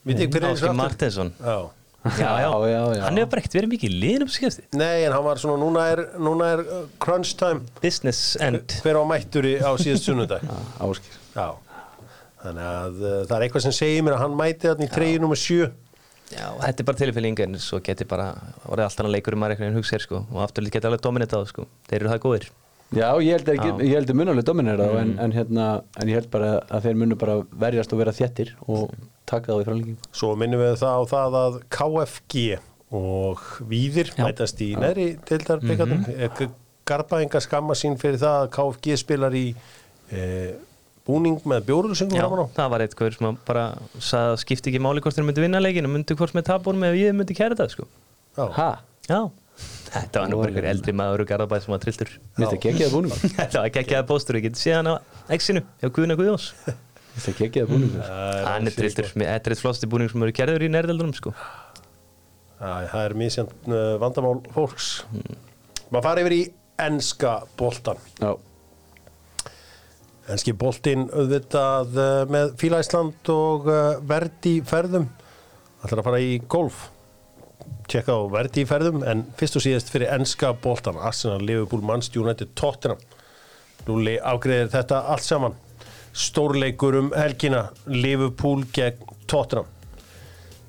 Speaker 1: Vitið þið hver er í þessu
Speaker 3: Ásgeir
Speaker 1: afturöldingarlið?
Speaker 3: Martinsson
Speaker 1: Já,
Speaker 3: já, já.
Speaker 2: Já, já, já.
Speaker 3: Hann hefur bara ekkert verið mikið í liðnum skjöfti
Speaker 1: nei en hann var svona núna er, núna er uh, crunch time
Speaker 3: Business end
Speaker 1: hver var mættur í, á síðast sunnudag
Speaker 2: Áskir
Speaker 1: Já, þannig að uh, það er eitthvað sem segir mér að hann mæti þarna í treyju nummer sjö
Speaker 3: Já, þetta er bara tilfelling en svo geti bara orðið allt annað leikur um maður einhvern veginn hugsa sko. og afturöldi geti alveg dominitað sko. þeir eru það góðir
Speaker 2: Já, ég held, ekki,
Speaker 3: Já.
Speaker 2: ég held að munalega dominera mm. en, en, hérna, en ég held bara að þeir munu bara verjast og vera þjettir og taka þá í framlengingu
Speaker 1: Svo minnum við það á það að KFG og Víðir mætast í neðri
Speaker 3: Mhm.
Speaker 1: deildarbyggarnum. Mm -hmm. Garbaðinga skamma sín fyrir það að KFG spilar í e, búning með bjóruðsöngum
Speaker 3: Já,
Speaker 1: framan á.
Speaker 3: það var eitthvað sem að bara sagði að skipti ekki máli hvort þeir myndi vinna leikinu, myndi hvort með tapunum ef ég myndi kæra þetta, sko.
Speaker 1: Já.
Speaker 2: Ha?
Speaker 3: Já, þetta var nú bara einhver eldri maður og garðabæð sem var trilltur.
Speaker 2: Mér þetta geggjaði búnum Mér
Speaker 3: þetta var geggjaða póstur, ég geti séð hann á exinu hjá Guðna Guðjós.
Speaker 2: þetta geggjaði búnum uh.
Speaker 3: Hann er trilltur, mér- þetta er eitt flosti búning sem eru gerður í nærdeldunum, sko.
Speaker 1: Æ, það er misjönd uh, vandamál fólks.
Speaker 3: Mm.
Speaker 1: Maður fari yfir í enska boltan.
Speaker 2: Já,
Speaker 1: Enski boltinn auðvitað uh, með Fíla Ísland og uh, Verdi ferðum. Það er að fara í golf. Tjekka á Verdi ferðum en fyrst og síðast fyrir enska boltan. Arsenal, Liverpool, Manchester United, Tottenham. Lúli afgreðir þetta allt saman. Stórleikur um helgina. Liverpool gegn Tottenham.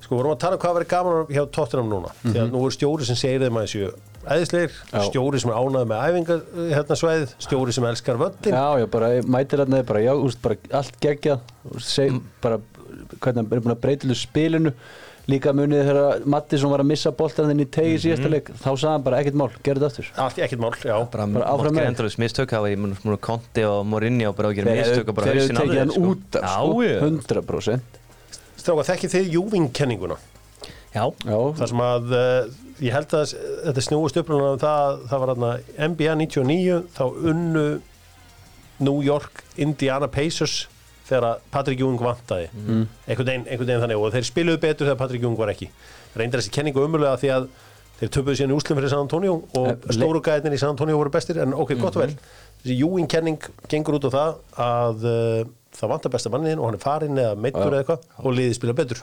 Speaker 1: Sko, vorum að tala um hvað verið gaman hjá Tottenham núna. Því að nú er stjóri sem segir þeim að þessu æðisleir,
Speaker 2: Já.
Speaker 1: stjóri sem er ánæði með æfingar hérna svæðið, stjóri sem elskar völlin.
Speaker 2: já, já bara mætir hann bara, já, úst, bara allt geggjað og
Speaker 3: Mm.
Speaker 2: seg, bara, hvernig hann er búin að breyta til spilinu líka munið þegar Mattisson var að missa boltan þinn í
Speaker 3: Mhm.
Speaker 2: tegi síðasta leik þá sagði hann bara ekkert mál, gerðu þetta aftur
Speaker 1: Allt, ekkert mál, já.
Speaker 3: Bara,
Speaker 2: Bara áfram með
Speaker 3: fólk er
Speaker 2: þig.
Speaker 3: endurlega mistök hafa, ég mun að konti og morinni og bara að gera
Speaker 2: Þeir
Speaker 3: mistök
Speaker 2: hefðu-
Speaker 3: og
Speaker 2: þeir
Speaker 3: bara
Speaker 2: hefðu
Speaker 3: hausinn á
Speaker 2: tekið
Speaker 3: þér,
Speaker 2: hann
Speaker 3: sko.
Speaker 2: út af
Speaker 3: Já,
Speaker 2: sko,
Speaker 3: ég-
Speaker 2: 100%
Speaker 1: Stráka, þekkið þið júvingkenninguna?
Speaker 3: Já,
Speaker 2: Já,
Speaker 1: Það sem að, uh, ég held að s- þetta snúist upplunum um það, að það var hérna NBA 99, þá unnu New York Indiana Pacers þegar að Patrick Jung vantaði.
Speaker 2: Mm.
Speaker 1: Einhvern, veginn, einhvern veginn þannig og þeir spiluðu betur þegar Patrick Jung var ekki. Reyndar þessi kenningu umulega því að þeir töpuðu síðan í úslum fyrir San Antonio
Speaker 2: Eh,
Speaker 1: og
Speaker 2: le-
Speaker 1: stóru gæðinir í San Antonio voru bestir en ok, gott og vel. Þessi Júin kenning gengur út á það að uh, það vantar besta manniðin og hann er farinn eða meittur eða eitthvað og liðið spila betur.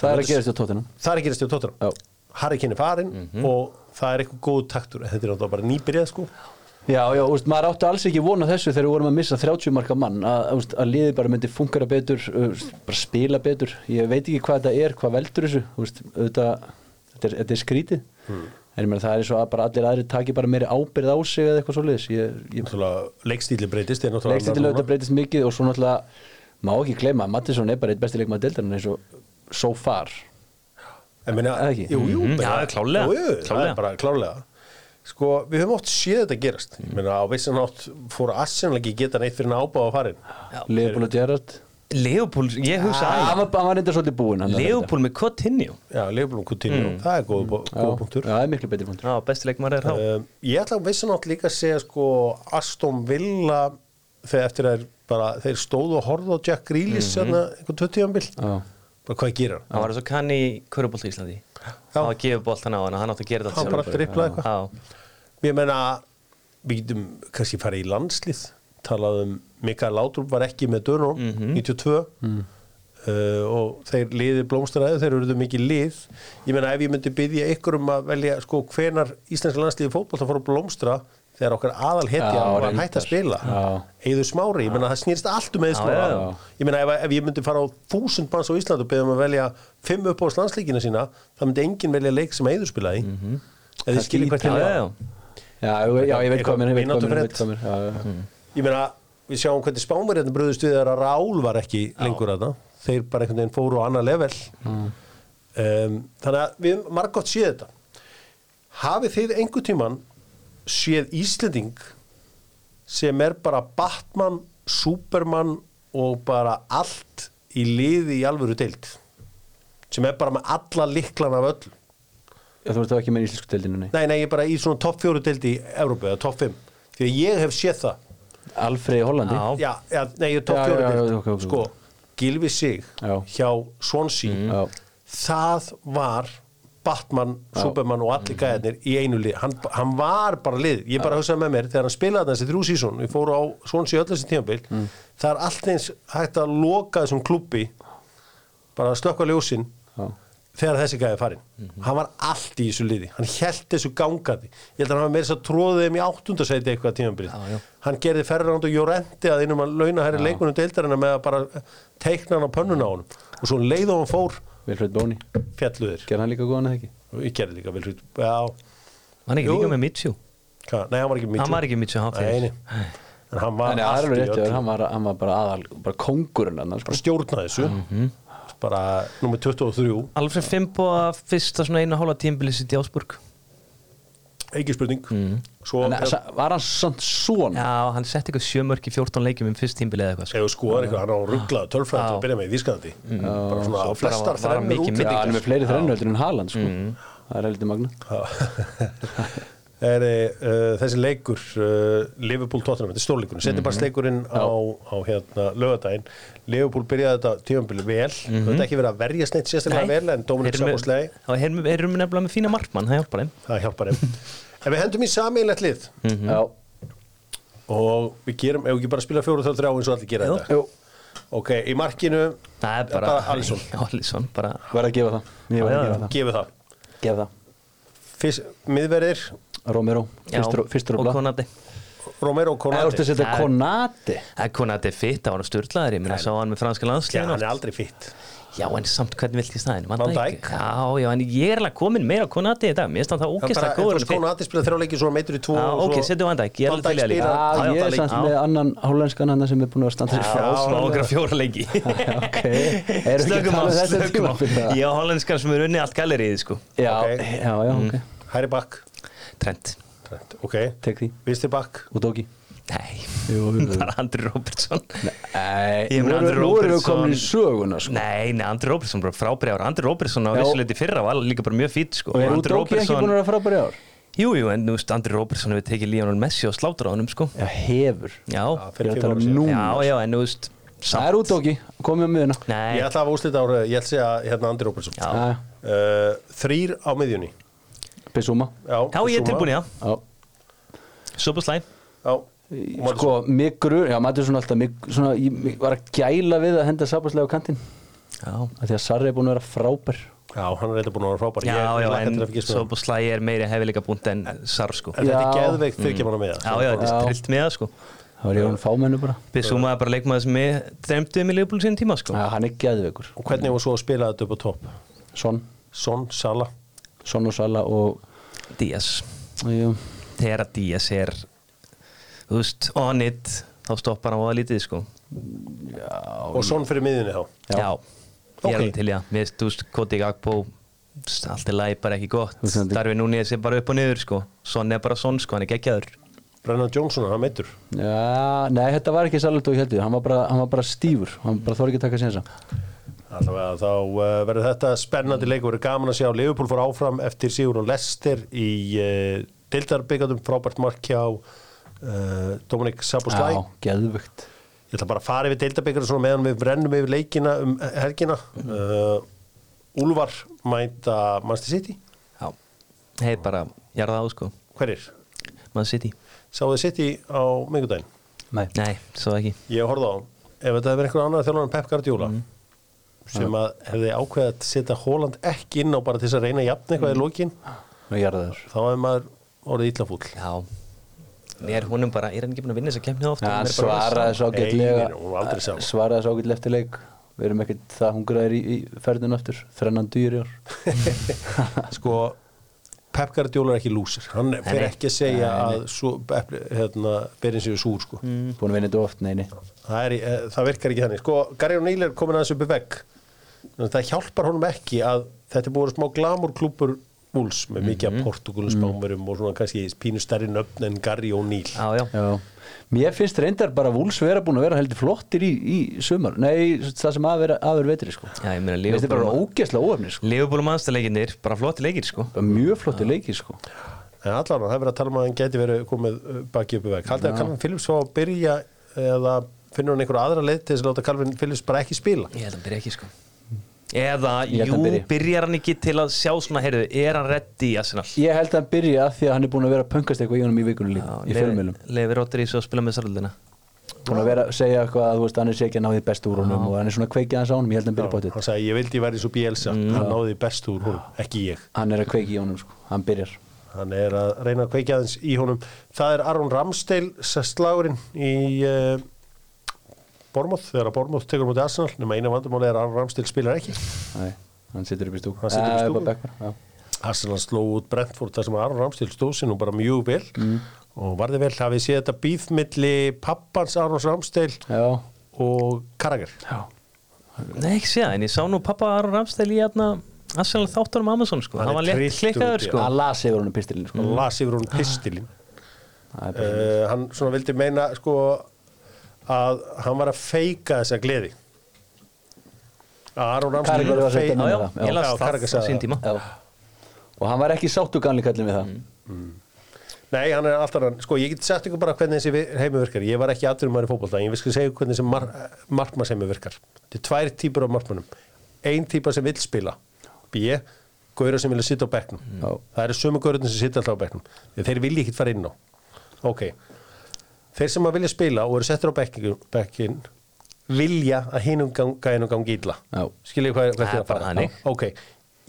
Speaker 2: það er að gerast á tóttina
Speaker 1: það er að gerast hjá Tottenham
Speaker 2: Já.
Speaker 1: Harry Kane er farinn og það er eitthvað góð taktur þetta er náttúrulega bara nýbyrjað sko
Speaker 2: Já, já, úst, maður átti alls ekki vona þessu þegar við vorum að missa 30 marka mann að, úst, að liðið bara myndi fungera betur úst, bara spila betur, ég veit ekki hvað þetta er hvað veldur þessu úst, auðvitað, þetta, er, þetta er skrítið en ég meina það er eins og að bara allir aðrir taki bara meiri ábyrð á sig eða eitthvað svoleiðis ég, ég
Speaker 1: náttúrulega leikstíli breytist er náttúrulega
Speaker 2: leikst til
Speaker 1: annar
Speaker 2: auðvitað
Speaker 1: núna.
Speaker 2: breytist mikið og svo náttúrulega má ekki gleyma að Mattisson er bara eitt besti leikmaður deildarinn eins og so far
Speaker 1: En meina,
Speaker 2: Eða ekki?
Speaker 1: jú, jú,
Speaker 3: Mhm.
Speaker 1: bara,
Speaker 3: Já, klárlega.
Speaker 1: jú, jú, það
Speaker 3: Klárlega. Mhm.
Speaker 1: er bara klárlega sko, við höfum oft séð þetta gerast ég meina, á vissan átt fór Arsenal ekki geta neitt fyrir hann ábáða farin
Speaker 2: Leopold og Gerrard Ah,
Speaker 3: Leopold, ég hugsa
Speaker 2: hann
Speaker 3: að
Speaker 2: var- hann var reynda svolítið búinn hann að reynda.
Speaker 3: Leopold með Coutinho
Speaker 1: já, Leifblom Coutinho,
Speaker 3: Mhm.
Speaker 1: það er góð, góð punktur
Speaker 2: Já, það er miklu betri punktur
Speaker 3: Já, bestileik maður er þá
Speaker 1: um, ég ætla að vissan átt líka að segja sko Aston Villa þegar eftir að þeir bara, þeir stóðu og horfðu á Jack Grealish mm -hmm. einhvern 20 ambil
Speaker 2: Mhm. Já.
Speaker 1: bara hvað gerir hann
Speaker 3: Hann var eins og kann í Körubolt í Íslandi Það var að gefa boltan á hann og hann átti að gera þetta
Speaker 1: hann bara driplaði eitthvað
Speaker 3: eitthvað
Speaker 1: Ég meina, við getum kannski farið í landslið, talað um Mikael Látrúm var ekki með Dönum
Speaker 2: Mhm.
Speaker 1: 92 uh, og þeir liði blómstræðu, þeir eruðu mikið lið. Ég meina, ef ég myndi byggja ykkur um að velja, sko, hvenar Íslenska landsliði fótbolta fór að blómstra þegar okkar aðal hetja
Speaker 2: Já,
Speaker 1: var
Speaker 2: reyndar.
Speaker 1: hætt að spila.
Speaker 2: Já.
Speaker 1: Eður smári, ég meina, það snýrst allt um eður
Speaker 3: Já,
Speaker 1: smára.
Speaker 3: já,
Speaker 2: já.
Speaker 1: Ég meina, ef, ef ég myndi fara á þúsund manns á Ísland og byggja um að velja fimm upp á landslíkina sína, það myndi enginn velja leik sem eður spilaði. Mm
Speaker 2: Mhm.
Speaker 1: -hmm. Eða
Speaker 2: Það
Speaker 1: skilir hvert
Speaker 2: hlýtur
Speaker 1: ég
Speaker 2: að-
Speaker 1: er að-
Speaker 3: Já,
Speaker 2: Já, já, já, ég veit hvað mér, ég veit hvað mér, ég veit
Speaker 1: Vináttubrett.
Speaker 2: hvað mér já, já.
Speaker 1: Ég meina, við sjáum hvernig spánverjarnir bröðust við þegar að Rál var ekki lengur að það. Þeir bara einhvern veginn fóru á annað level. Um, þannig að við höfum margótt séð þetta. Hafið þið einhver tíman séð Íslending sem er bara Batman, Superman og bara allt í liði í alvöru deild? Sem er bara með alla liklan af öll.
Speaker 2: Já, Þú ert þá ekki með í íslensku deildinu, nei
Speaker 1: Nei, nei, ég er bara í svona topp fjóru deild í Evrópu eða topp fimm. Því að ég hef séð það.
Speaker 2: Alfreði Hollandi
Speaker 3: Já.
Speaker 1: já, já, nei, ég
Speaker 2: Já,
Speaker 1: tók
Speaker 2: já,
Speaker 1: fjóra
Speaker 2: já,
Speaker 1: deild
Speaker 2: ok, ok,
Speaker 1: sko,
Speaker 2: ok.
Speaker 1: Gilvi Sig
Speaker 2: Já. Mhm.
Speaker 1: hjá Swansea
Speaker 2: Já.
Speaker 1: það var Batman, Superman og allir gæðarnir í einu lið, hann, hann var bara lið ég bara hugsaði með mér, þegar hann spilaði þessi þrjú sísón við fóru á Swansea öll þessi tímabil
Speaker 2: Mhm.
Speaker 1: það er allt eins hægt að loka þessum klubbi bara að slökka ljósin
Speaker 2: Já.
Speaker 1: þegar þessi gæði farinn hann var allt í þessu liði, hann held þessu gangandi ég held að hann hafa með þess að tróða þeim í áttundasæti eitthvað
Speaker 3: Já, já.
Speaker 1: tímanbyrð hann gerði ferrand og jórenti að einum að launa herri leikunum deildarina með að bara eh, teikna hann á pönnuna á honum og svo um leið og hann fór
Speaker 2: Vilfred Bóni,
Speaker 1: fjalluðir
Speaker 2: gerði hann líka góðan eða ekki?
Speaker 1: og ég gerði líka vel hlut já,
Speaker 3: hann er ekki
Speaker 1: Jú.
Speaker 3: líka með Mitchell
Speaker 1: Hva? Nei, hann var ekki mítið
Speaker 3: hann var ekki mítið hann
Speaker 1: Nei, nei. En hann var
Speaker 2: Þannig að það er
Speaker 1: allt í
Speaker 2: alveg rétt hjá
Speaker 1: öllu.
Speaker 2: þér, hann var, hann var bara aðal bara kóngurinn sko. annars
Speaker 1: bara stjórna þessu bara nummer 23
Speaker 3: Alfred Fimboa fyrsta svona einu og hálfa tímbili sitt í Ásburg
Speaker 1: ekki spurning svo
Speaker 2: en,
Speaker 1: ef
Speaker 2: sa- Var hann samt svona?
Speaker 3: Já, hann setti eitthvað sjömörk í 14 leikjum um fyrst tímbili eða eitthvað sko.
Speaker 1: þú skoðar eitthvað, hann á rugglaðu tölfræði til að
Speaker 3: Já. Mm.
Speaker 1: byrja með í Vískandi bara svona
Speaker 3: Svo bara
Speaker 1: flestar
Speaker 3: var- var hann
Speaker 1: þrennur
Speaker 3: mikið
Speaker 2: Já, hann er
Speaker 1: útlendingar
Speaker 2: með fleiri þrennöldur en Haaland sko.
Speaker 3: Mhm.
Speaker 2: Það er heldur magna
Speaker 1: er uh, þessi leikur uh, Liverpool Tottenham, þetta er stórleikurinn setjum
Speaker 3: Mhm.
Speaker 1: bara sleikurinn á, á hérna, lögadaginn Liverpool byrjaði þetta tífambili vel þetta er ekki verið að verja snett sérstaklega
Speaker 3: Mhm. Nei.
Speaker 1: vel en Dominic
Speaker 3: Þeir eru með-
Speaker 1: Saboslei,
Speaker 3: Já, þeir eru- þeir eru með nefnilega með fína markmann, það hjálpar þeim
Speaker 1: það hjálpar þeim en við hendum í sameinlegt lið
Speaker 3: Mhm.
Speaker 2: Já,
Speaker 1: og við gerum, ef við ekki bara spila fjóru þá þrjá eins og allir gera
Speaker 3: Jú.
Speaker 1: þetta
Speaker 2: jú,
Speaker 1: Ok, í markinu
Speaker 3: Það er bara,
Speaker 1: Bara Alisson.
Speaker 3: Já, Alisson, bara
Speaker 2: verð að gefa það Ég verð
Speaker 3: Já,
Speaker 2: að
Speaker 3: já.
Speaker 2: gefa það
Speaker 1: gefið það
Speaker 2: Gefa það
Speaker 1: Fyrst, Miðverðir,
Speaker 2: Romero,
Speaker 3: Já,
Speaker 2: fyrstur og- fyrstur og
Speaker 3: og
Speaker 2: blá
Speaker 3: Konati
Speaker 1: Romero
Speaker 2: Það er
Speaker 1: Konati
Speaker 2: að setja
Speaker 3: Já.
Speaker 2: Konati
Speaker 3: Það er Konati fitt, það var hann styrlaður Ég minna sá hann með franska
Speaker 1: Já, hann
Speaker 3: landsliðin
Speaker 1: er aldrei fýtt
Speaker 3: Já, en samt hvernig vilt í staðin
Speaker 1: Van Dijk.
Speaker 3: Já, já, en ég er alveg komin meira á Konati í dag Mér finnst hann það ógeðslega góður en fyrr.
Speaker 1: Konati spila þrjá leiki svo meitur í tvo
Speaker 3: Já,
Speaker 1: og
Speaker 3: ok,
Speaker 1: svo-
Speaker 3: setjum Van Dijk, ég er
Speaker 1: Van
Speaker 3: alveg til í það líka.
Speaker 1: spilar-
Speaker 3: Já,
Speaker 2: Já, ég
Speaker 3: Van
Speaker 2: er
Speaker 3: Dijk,
Speaker 2: samt
Speaker 3: já.
Speaker 2: með annan hollenskan hann sem er búin að standa sér
Speaker 3: Já,
Speaker 2: frá
Speaker 3: svona okkar fjóra leiki
Speaker 2: ok. Erum við ekki að
Speaker 3: Slökum á,
Speaker 2: tala um þetta
Speaker 3: slökum á
Speaker 2: tímabil, eða?
Speaker 3: Ég á hollenskan sem er unni allt gallerið sko.
Speaker 2: Já,
Speaker 1: Ok.
Speaker 2: já, já, ok
Speaker 3: Mm.
Speaker 1: Hæri bakk
Speaker 3: Trent
Speaker 1: Trænt, Ok,
Speaker 2: Tek því
Speaker 1: vinstri bakk
Speaker 2: Og Dóki
Speaker 3: Nei,
Speaker 2: Jú, jú, jú.
Speaker 3: bara Andri Robertson
Speaker 2: Nei,
Speaker 3: Ég
Speaker 2: nú
Speaker 3: meina,
Speaker 2: erum
Speaker 3: Andri
Speaker 2: nú erum við komin í
Speaker 3: Robertson-
Speaker 2: söguna sko.
Speaker 3: Nei, nei, Andri Robertson bara frábæri ár Andri Robertson á
Speaker 2: Já.
Speaker 3: vissuleiti fyrra var líka bara mjög fýtt sko.
Speaker 2: Og er
Speaker 3: Andri
Speaker 2: Údóki ekki
Speaker 3: Robertson-
Speaker 2: búin að vera frábæri ár?
Speaker 3: Jú, jú, en þú veist, Andri Robertson hefur tekið Lionel Messi og slátur á honum sko.
Speaker 2: Já, hefur
Speaker 3: Já,
Speaker 1: Já,
Speaker 2: Ég er
Speaker 1: fyrir
Speaker 2: að
Speaker 1: fjórum
Speaker 2: tala um
Speaker 1: árum síðan.
Speaker 2: núna
Speaker 3: já, já, en þú veist
Speaker 2: Það er Údóki, komið á miðuna
Speaker 3: Nei,
Speaker 1: Ég
Speaker 3: já,
Speaker 1: ætla að úslita ára, ég ætla að segja hérna Andri Róbertsson
Speaker 3: já,
Speaker 2: Já,
Speaker 1: uh, Þrýr á miðjunni
Speaker 2: Bissúma
Speaker 1: Já,
Speaker 3: ég er
Speaker 1: Bissouma.
Speaker 3: tilbúin í það
Speaker 2: Já
Speaker 3: Sopa slæm
Speaker 1: Já,
Speaker 2: Sko, mig grur, já, maður er svona alltaf mig, svona, ég mig var að gæla við að henda sabaslega á kantinn
Speaker 3: Já,
Speaker 2: af Því að Sarri er búin að vera frábær
Speaker 1: já hann er eitthvað búin að vera frábær
Speaker 3: já,
Speaker 1: Ég- ég lakka
Speaker 3: já,
Speaker 1: til að
Speaker 3: en
Speaker 1: fylgjast með honum.
Speaker 3: Sopa slæm er meiri hefileika búnt en Sar sko
Speaker 1: En þetta er
Speaker 2: Já.
Speaker 1: geðveik þykja manna með sko.
Speaker 3: Já, já, þetta er
Speaker 2: Já.
Speaker 3: trillt með það sko
Speaker 2: Það var ég hann fámennu bara
Speaker 3: Bissúma er bara leikmaður sem ég dreymdi um í Leopold sín tíma sko
Speaker 2: Já, hann er geðveikur
Speaker 1: Og hvernig var svo að spila þetta upp á topp?
Speaker 2: Son,
Speaker 1: Son, Sala
Speaker 2: Son og Sala og
Speaker 3: Díaz
Speaker 2: jú,
Speaker 3: Þegar að Díaz er þú veist, on it þá stoppar hann á að lítið sko
Speaker 1: Og Son fyrir miðjunni þá
Speaker 2: Já.
Speaker 3: Já, ég
Speaker 1: Ok.
Speaker 3: er alveg til í það Mér veist, þú veist, Koti Gagbo allt er læg bara ekki gott
Speaker 2: Þú veist, þetta-
Speaker 3: Darfi núni er bara upp og niður sko Son er bara son sko, hann er geggjaður
Speaker 1: Brennan Johnson, hann meitur
Speaker 2: Já, nei, þetta var ekki Salat og Hjaldi, hann var bara, hann var bara stífur, hann bara þóri ekki að taka sénsa.
Speaker 1: Allavega þá uh, verður þetta spennandi leik og verður gaman að sjá Liverpool fór áfram eftir Sigur og Lester í uh, deildarbyggjandum frábært mark hjá uh, Dominik Saboslæ
Speaker 2: Já, geðvögt.
Speaker 1: Ég ætla bara að fara yfir deildarbyggjandur svona meðan við rennum yfir leikina um helgina uh, Úlfar mæta Manchester City
Speaker 3: Já, hei bara, ég er það á sko
Speaker 1: Hverir?
Speaker 3: maður sitt í
Speaker 1: Sáðu þið City á miðgudaginn?
Speaker 2: Nei.
Speaker 3: Nei, svo ekki
Speaker 1: Ég horfði á hann. ef þetta hefur einhver annar þjálfur en Pep Guardiola sem að hefði ákveðið að setja Holland ekki inn á bara til þess að reyna að jafna eitthvað í lókin
Speaker 2: Nú ég er það þurr.
Speaker 1: þá hefði maður orðið illa fúll
Speaker 3: Já, ég er honum bara, ég er hann ekki búin að vinna þess að kemna ofta
Speaker 2: Hann svaraði svo
Speaker 1: Nei,
Speaker 2: ágætlega,
Speaker 1: nei, hún var aldrei sama.
Speaker 2: svaraði svo ágætlega eftir leik. Við erum ekkert það hungraðir í, í ferðinu aftur, þrennan dýr í ár.
Speaker 1: sko Pep Guardiola er ekki lúsir hann fer
Speaker 3: nei.
Speaker 1: ekki að segja að svo, epli, hérna, berin séu súr sko.
Speaker 2: Búin að vinna þetta oft, nei, nei.
Speaker 1: það, er, í- eh, það virkar ekki þannig sko, Gary O'Neill er komin aðeins upp í vegg Þannig að það hjálpar honum ekki að þetta er búið að vera smá glamur klúpur Wolves með mikið af Portugalum spámurum og svona kannski pínu stærri nöfn en Gary O'Neill
Speaker 3: Já, já,
Speaker 2: Já. Mér finnst reyndar bara vúls vera búin að vera heldur flottir í, í sumar. Nei, það sem að vera, að vera vetri, sko.
Speaker 3: já ég meina
Speaker 2: Mér finnst þetta bara
Speaker 3: Leopold
Speaker 2: ógeðslega óöfni, sko.
Speaker 3: Leopold mannstæleikinir, bara flotti leikir sko
Speaker 2: Bara Mjög flottir leiki, sko.
Speaker 1: En allan, það er verið að tala um að hann geti verið komið uh, baki upp í veg. Haldið að Calvin Phillips fá að byrja eða finnur hann einhverja aðra leið til þess að láta Calvin Phillips bara ekki spila?
Speaker 3: Ég held að hann byrja ekki sko Eða,
Speaker 2: Ég held
Speaker 3: jú,
Speaker 2: hann byrji.
Speaker 3: byrjar hann ekki til að sjá svona, heyrðu, er hann reddi í Arsenal?
Speaker 2: Ég held að hann byrja af því að hann er búin að vera að pöngast eitthvað í honum í vikunum líka, í fjölmjölum.
Speaker 3: Lefi Róttir í svo að spila með sarluna
Speaker 2: Búin að vera að segja eitthvað að þú veist, hann er sér ekki að ná því best úr honum og hann er svona að kveikja hans á honum, ég held að hann byrja bótið.
Speaker 1: Hann sagði, ég vildi ég verið svo Bielsa, hann náði best úr honum, ekki ég.
Speaker 2: Hann er að kveikja í honum, sko, hann byrjar.
Speaker 1: Hann er að reyna að kveikja aðeins í honum. Það er Aron Ramsdale s- slagurinn í uh, Bormóð, þegar að Bormóð tekur mútið Arsenal, nema eina vandamáli er að Aron Ramsdale spilar ekki.
Speaker 2: Nei, hann situr upp í stúk.
Speaker 1: Hann situr upp í
Speaker 2: Eh,
Speaker 1: stúku.
Speaker 2: upp á bekk bara, já.
Speaker 1: Arsenal sló út Brentford þar sem Aron Ramstil stóð sér nú bara mjög vel og varði vel hafið séð þetta býð milli pappans Aron Ramstil
Speaker 2: já,
Speaker 1: og Karager
Speaker 2: já
Speaker 3: Nei, ekki séð, en ég sá nú pappa Aron Ramstæl í aðna Arsenal þáttunum Amazon sko,
Speaker 1: Hann er
Speaker 3: hann var létt
Speaker 1: trylltur út
Speaker 3: klikkaður
Speaker 1: í
Speaker 3: sko
Speaker 2: hann las yfir honum pistilin sko.
Speaker 1: mm. las yfir hún pistilin
Speaker 2: Það er bara-
Speaker 1: uh, hann svona vildi meina sko að hann var að feika þessa gleði að Aron Ramstil
Speaker 2: Carragher var svolítið
Speaker 3: Já, já,
Speaker 2: Já,
Speaker 3: ég las
Speaker 1: já,
Speaker 3: það
Speaker 1: Carragher
Speaker 3: á
Speaker 1: sagði
Speaker 3: sín
Speaker 1: það.
Speaker 3: tíma
Speaker 2: já. og hann var ekki sáttu ganlikallin við það
Speaker 1: Mm. Nei, hann er alltaf hann, sko, ég get sagt ykkur bara hvernig þessi heimi virkar. Ég var ekki aðdurum maður í fótbolta, en ég skal segja ykkur hvernig þessi mar markmanns heimi virkar. Þetta er tvær típur af markmannum. Ein típa sem vill spila, B, gauðra sem vilja sitta á bekknum.
Speaker 2: Já.
Speaker 1: Það eru sömu gauðurinn sem sitta alltaf á bekknum. Þeir- Þeir vilja ekkit fara inn á. Ok. Þeir sem að vilja spila og eru settur á bekkin, bekkin vilja að hinum gang, gæðinum gangi illa.
Speaker 2: Já.
Speaker 1: Skiljið hvað, hvað
Speaker 3: Það er
Speaker 1: er að
Speaker 3: bara
Speaker 1: fara?
Speaker 3: þannig. Mhm.
Speaker 1: Já. Ok.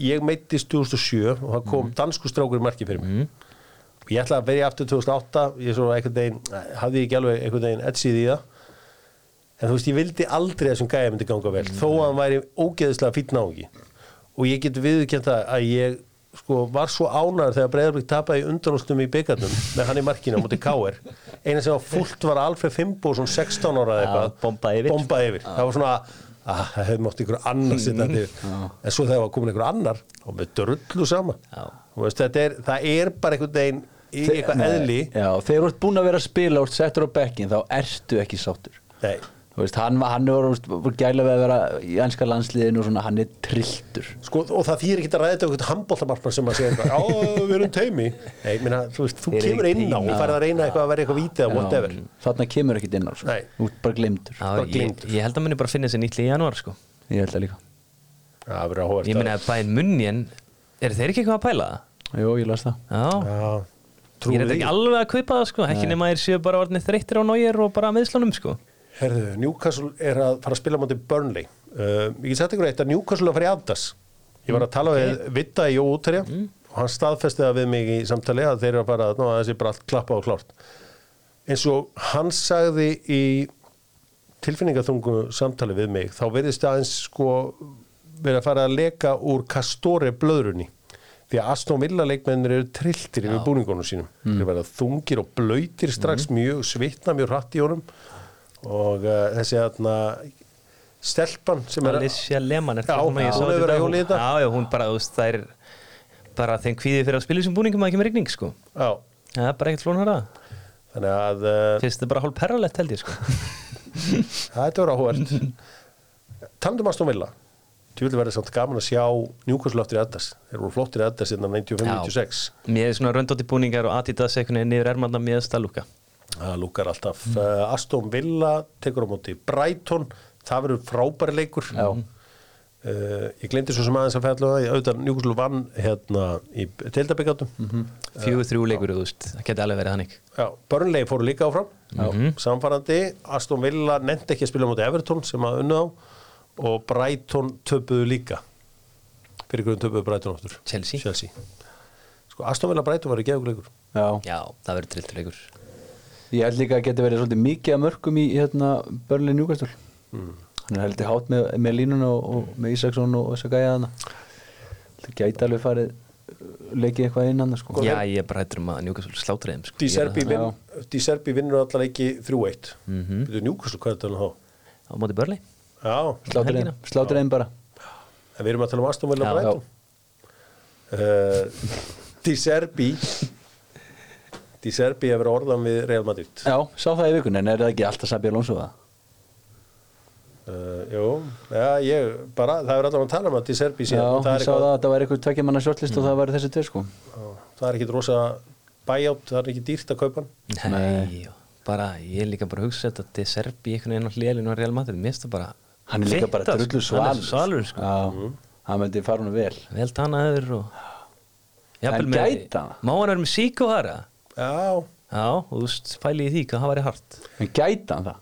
Speaker 1: Ég meittist 2007 og það kom mm. dansku strákur í markið fyrir mig ég ætlaði að verja aftur 2008 ég svona einhvern veginn hafði ég ekki alveg einhvern veginn etsið í það en þú veist ég vildi aldrei að þessum gæja myndi ganga
Speaker 3: Mhm.
Speaker 1: vel þó að hann væri ógeðislega fýtt náungi og ég get viðurkjönt það að ég sko var svo ánar þegar Breiðarblik tapaði undanústum í byggarnum með hann í markinu á móti K.R. eina sem var fullt var Alfred Fimboson 16 ára eða eitthvað
Speaker 3: Já, bombaði yfir.
Speaker 1: bombaði yfir. það var svona að það hefði mátt ykkur
Speaker 3: Hmm,
Speaker 1: annar setja þetta yfir en svo þegar var komin ykkur annar og með drullu sama
Speaker 3: Já.
Speaker 1: Þú veist, þetta er, það er bara einhvern veginn í
Speaker 2: Þe-
Speaker 1: eitthvað
Speaker 2: Nei,
Speaker 1: eðli
Speaker 2: já, þegar þú ert búin að vera að spila og ert settur á bekkin þá ertu ekki sáttur
Speaker 1: Nei,
Speaker 2: Þú veist, hann, var- hann var, þú veist, var gæla við að vera í ænska landsliðinu og svona, hann er trilltur
Speaker 1: sko, og það þýr ekki að ræða þetta um einhvern handbóltamarkmann sem að segja eitthvað, já, við erum teimi Nei, minna, þú veist, þú
Speaker 2: Þeir eru
Speaker 1: kemur
Speaker 2: í
Speaker 1: inn á og
Speaker 2: teimi.
Speaker 1: færð að reyna eitthvað að vera eitthvað vítið eða whatever
Speaker 2: þarna kemur ekkit inn á sko.
Speaker 1: Nei.
Speaker 2: þú ert bara glimtur
Speaker 3: Já,
Speaker 1: Bara
Speaker 3: ég,
Speaker 1: gleymdur.
Speaker 3: ég held að muni bara finna sér nýtt lið í janúar sko
Speaker 2: ég held það líka
Speaker 1: Það verður að hóðast
Speaker 3: Ég meina að bæinn munni en eru þeir ekki eitthvað að pæla það?
Speaker 2: Jó, ég las það
Speaker 3: Já, ég
Speaker 1: Trúið
Speaker 3: er þetta
Speaker 1: því
Speaker 3: ekki alveg að kaupa það sko, ekki nema þeir séu bara orðinni þreyttir á nógir og bara meðslunum sko
Speaker 1: Herðu, Newcastle er að fara að spila mátti Burnley uh, Ég get sagt ykkur eitt að Newcastle er að fara í Adas Ég var að tala við Vitta í Jóúterja og hann staðfesti það við mig í samtali að þeir eru að fara að þessi bara allt klappa og klárt eins og hann sagði í tilfinningaþungu samtali við mig þá verðist aðeins sko verið að fara að leka úr kastóri blöðrunni því að Aston Villa leikmennir eru trilltir yfir búningunum sínum þeir verða þungir og blöytir strax mjög svitna mjög hratt í honum og uh, þessi aðna stelpan sem er
Speaker 3: Alicia Lehmann er
Speaker 1: Já,
Speaker 3: það sem
Speaker 1: já,
Speaker 3: ég sá
Speaker 1: hún hefur
Speaker 3: þetta
Speaker 1: verið að
Speaker 3: í dag,
Speaker 1: hjóla í
Speaker 3: hún-
Speaker 1: þetta.
Speaker 3: Já, já, hún bara, þú veist, það er bara þeim kvíði fyrir að spila í þessum búningum að ekki með rigning sko
Speaker 1: á,
Speaker 3: Það er bara ekkert flónar að
Speaker 1: þannig að uh,
Speaker 3: Fyrst þetta er bara hálf perralett held ég sko
Speaker 1: Þetta var áhugavert Talandum Aston Villa Tjúli verður samt gaman að sjá Newcastle aftur í Addas Þeir voru flottir í Addas innan 95-96
Speaker 3: Mér er svona röndótti búningar og Adidas einhvern veginn niður ermanna mér að staðlúka
Speaker 1: Það lúkar alltaf uh, Aston Villa tekur á móti Brighton Það verður frábæri leikur uh, Ég glemdi svo sem aðeins að fælla það auðvitað Newcastle vann hérna í deildabyggatum
Speaker 3: Fjögur þrjú leikur, þú veist, það geti alveg verið þannig
Speaker 1: Já, Burnley fóru líka áfram
Speaker 3: Mhm.
Speaker 1: samfarandi, Aston Villa nefndi ekki að spila mútið Everton sem að unna á og Brighton töpuðu líka fyrir hverjum töpuðu Brighton áttur
Speaker 3: Chelsea.
Speaker 1: Sko, Aston Villa Brighton var í geðugleikur
Speaker 2: Já.
Speaker 3: Já, það verður trilltur leikur
Speaker 2: ég held líka að geti verið svolítið mikið að mörgum í hérna, Börlin Júkastul hann er heldur hátt með, með línuna og, og með Ísaksson og þess að gæja hana það gæti alveg farið uh, leikið eitthvað inn hann sko.
Speaker 3: Já, ég er bara hættur um að njúka svolítið slátriðum sko.
Speaker 1: Di
Speaker 3: Ég er
Speaker 1: Serbi
Speaker 2: það.
Speaker 1: vinn- Di Serbi vinnur allar ekki 3-1 mm
Speaker 3: Mhm.
Speaker 1: -hmm. byrjuðu Newcastle, hvað er þetta nú þá?
Speaker 3: það Á móti börli
Speaker 1: Já,
Speaker 2: Slátur
Speaker 3: Helgina.
Speaker 2: einn- slátur einn bara
Speaker 1: en við erum að tala um Aston Villa
Speaker 3: Já,
Speaker 1: Brighton uh, Di Serbi Di Serbi hefur orðan við Real Madrid
Speaker 2: Já, sá það í vikunni, en er það ekki alltaf Sabi Alonso það?
Speaker 1: Uh, jú, já, ég bara, það er allavega að tala um að Diserbi
Speaker 2: Já,
Speaker 1: síðan, það
Speaker 2: ég
Speaker 1: er,
Speaker 2: sá það
Speaker 1: eitthvað,
Speaker 2: að það var eitthvað tvekja manna shortlist og það var þessi tveir sko
Speaker 1: það er ekkit rosa bæjátt, það er ekki dýrt að kaupa hann
Speaker 3: Nei, já. bara, ég er líka bara að hugsa þetta Di Serbi einhvern veginn á hlélinu á Real Madrid Mér finnst það bara
Speaker 2: Hann er líka
Speaker 3: Fitta,
Speaker 2: bara
Speaker 3: sko.
Speaker 2: drullu
Speaker 3: Hann er
Speaker 2: svalur
Speaker 3: svo svalur, sko
Speaker 2: Já, hann myndi fara hún vel
Speaker 3: Vel tannaður og Jafnvel
Speaker 2: En
Speaker 3: með-
Speaker 2: gæti hann?
Speaker 3: Má hann vera með sík og hara
Speaker 1: Já,
Speaker 3: Já, og þú veist, pæli í því hvað það væri hart
Speaker 2: En gæti hann það?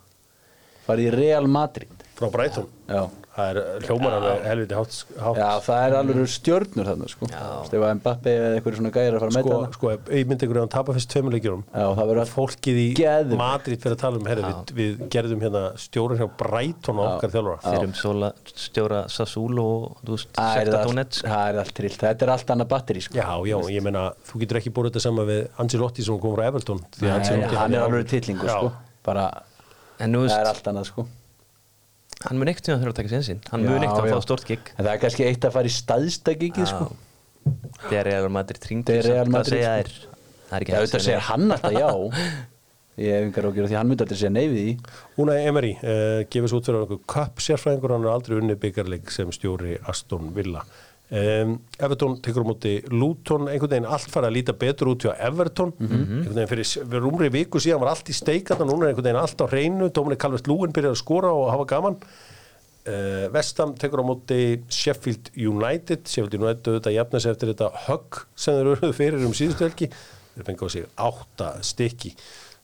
Speaker 2: Farið í Real Madrid
Speaker 1: frá Brighton
Speaker 2: já.
Speaker 1: það er eh, hljómar alveg helviti hátt, hátt.
Speaker 2: já, það er alveg stjörnur þarna sko.
Speaker 3: Já.
Speaker 2: stefa Mbappi eða einhverju svona gæjar að fara að mæta
Speaker 1: sko,
Speaker 2: þarna
Speaker 1: sko, ég myndi ykkur að hann tapa fyrst tveimur leikjurum
Speaker 2: já, það verður að
Speaker 1: fólkið í
Speaker 2: Geðveikt.
Speaker 1: Madrid fyrir að tala um herri, við, við gerðum hérna stjórun hjá Brighton á okkar þjálfara
Speaker 3: fyrir um sóla, stjóra Sassúl og þú veist,
Speaker 2: Það er
Speaker 3: Sekta
Speaker 2: allt-
Speaker 3: Donets
Speaker 2: það er allt trillt, þetta er allt annað batteri sko.
Speaker 1: já, já, ég meina, þú getur ekki búið þetta saman við Ancelotti sem kom frá Everton því að
Speaker 2: Nei,
Speaker 1: Ancelotti
Speaker 2: hann er
Speaker 1: hafði-
Speaker 2: alveg tillingu
Speaker 1: Já.
Speaker 2: sko. bara,
Speaker 3: en nú
Speaker 2: það er
Speaker 3: veist,
Speaker 2: allt annað sko.
Speaker 3: hann mun ekkert að þurfa að taka sénsinn hann
Speaker 2: Já,
Speaker 3: mun ekkert að
Speaker 2: já.
Speaker 3: fá stort gig
Speaker 2: en það er kannski eitt að fara í staðsta gigið sko.
Speaker 3: þegar Real Madrid ringdi
Speaker 2: Þegar Real Madrid-
Speaker 3: segja er það er
Speaker 2: Já,
Speaker 3: ekki hægt
Speaker 2: auðvitað segir hann alltaf já Ég hef yngar okkur því hann myndi aldrei segja nei við því
Speaker 1: Unai Emery uh, gefur svo út fyrir einhver kapp sérfræðingur, hann er aldrei unni byggarleik sem stjóri Aston Villa um, Everton tekur á móti Luton einhvern veginn allt farið að líta betur út hjá Everton, einhvern veginn fyrir við rúmri viku síðan var allt í steikarna núna er einhvern veginn allt á hreinu, Dominic Calvert-Lúin byrjar að skora og hafa gaman uh, Vestam tekur á móti Sheffield United, Sheffield United auðvitað jafna sér eftir þetta högg sem þeir eru fyrir um síðustu helgi þeir fengið á sig átta stykki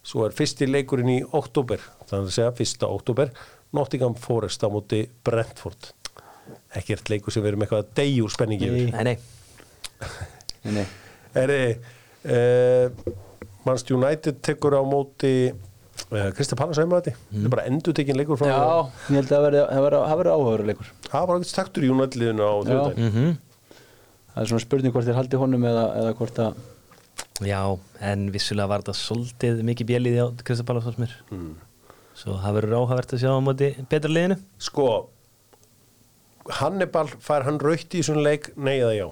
Speaker 1: svo er fyrsti leikurinn í oktober þannig að segja fyrsta oktober Nottingham Forest á móti Brentford ekkert leikur sem við erum eitthvað að deyja úr spenningi yfir
Speaker 3: nei, nei,
Speaker 2: Nei, nei.
Speaker 1: er uh, Manst United tekur á móti uh, Krista Pallas heima þetta þetta er bara endur tekin leikur frá
Speaker 2: Já, ég held að það verði- það verði- það verði áhöruleikur
Speaker 1: það var ekkert taktur í United liðinu á
Speaker 2: Já.
Speaker 1: þjóðdæmi
Speaker 2: Það er svona spurning hvort þér haldi honum eða, eða hvort að
Speaker 3: já en vissulega var þetta svolítið mikið bjeliði á Kristapallas hos mér
Speaker 2: Hmm.
Speaker 3: svo það verður áhævert að sjá á móti betra liðinu
Speaker 1: sko Hannibal fær hann raukt í svona leik nei eða já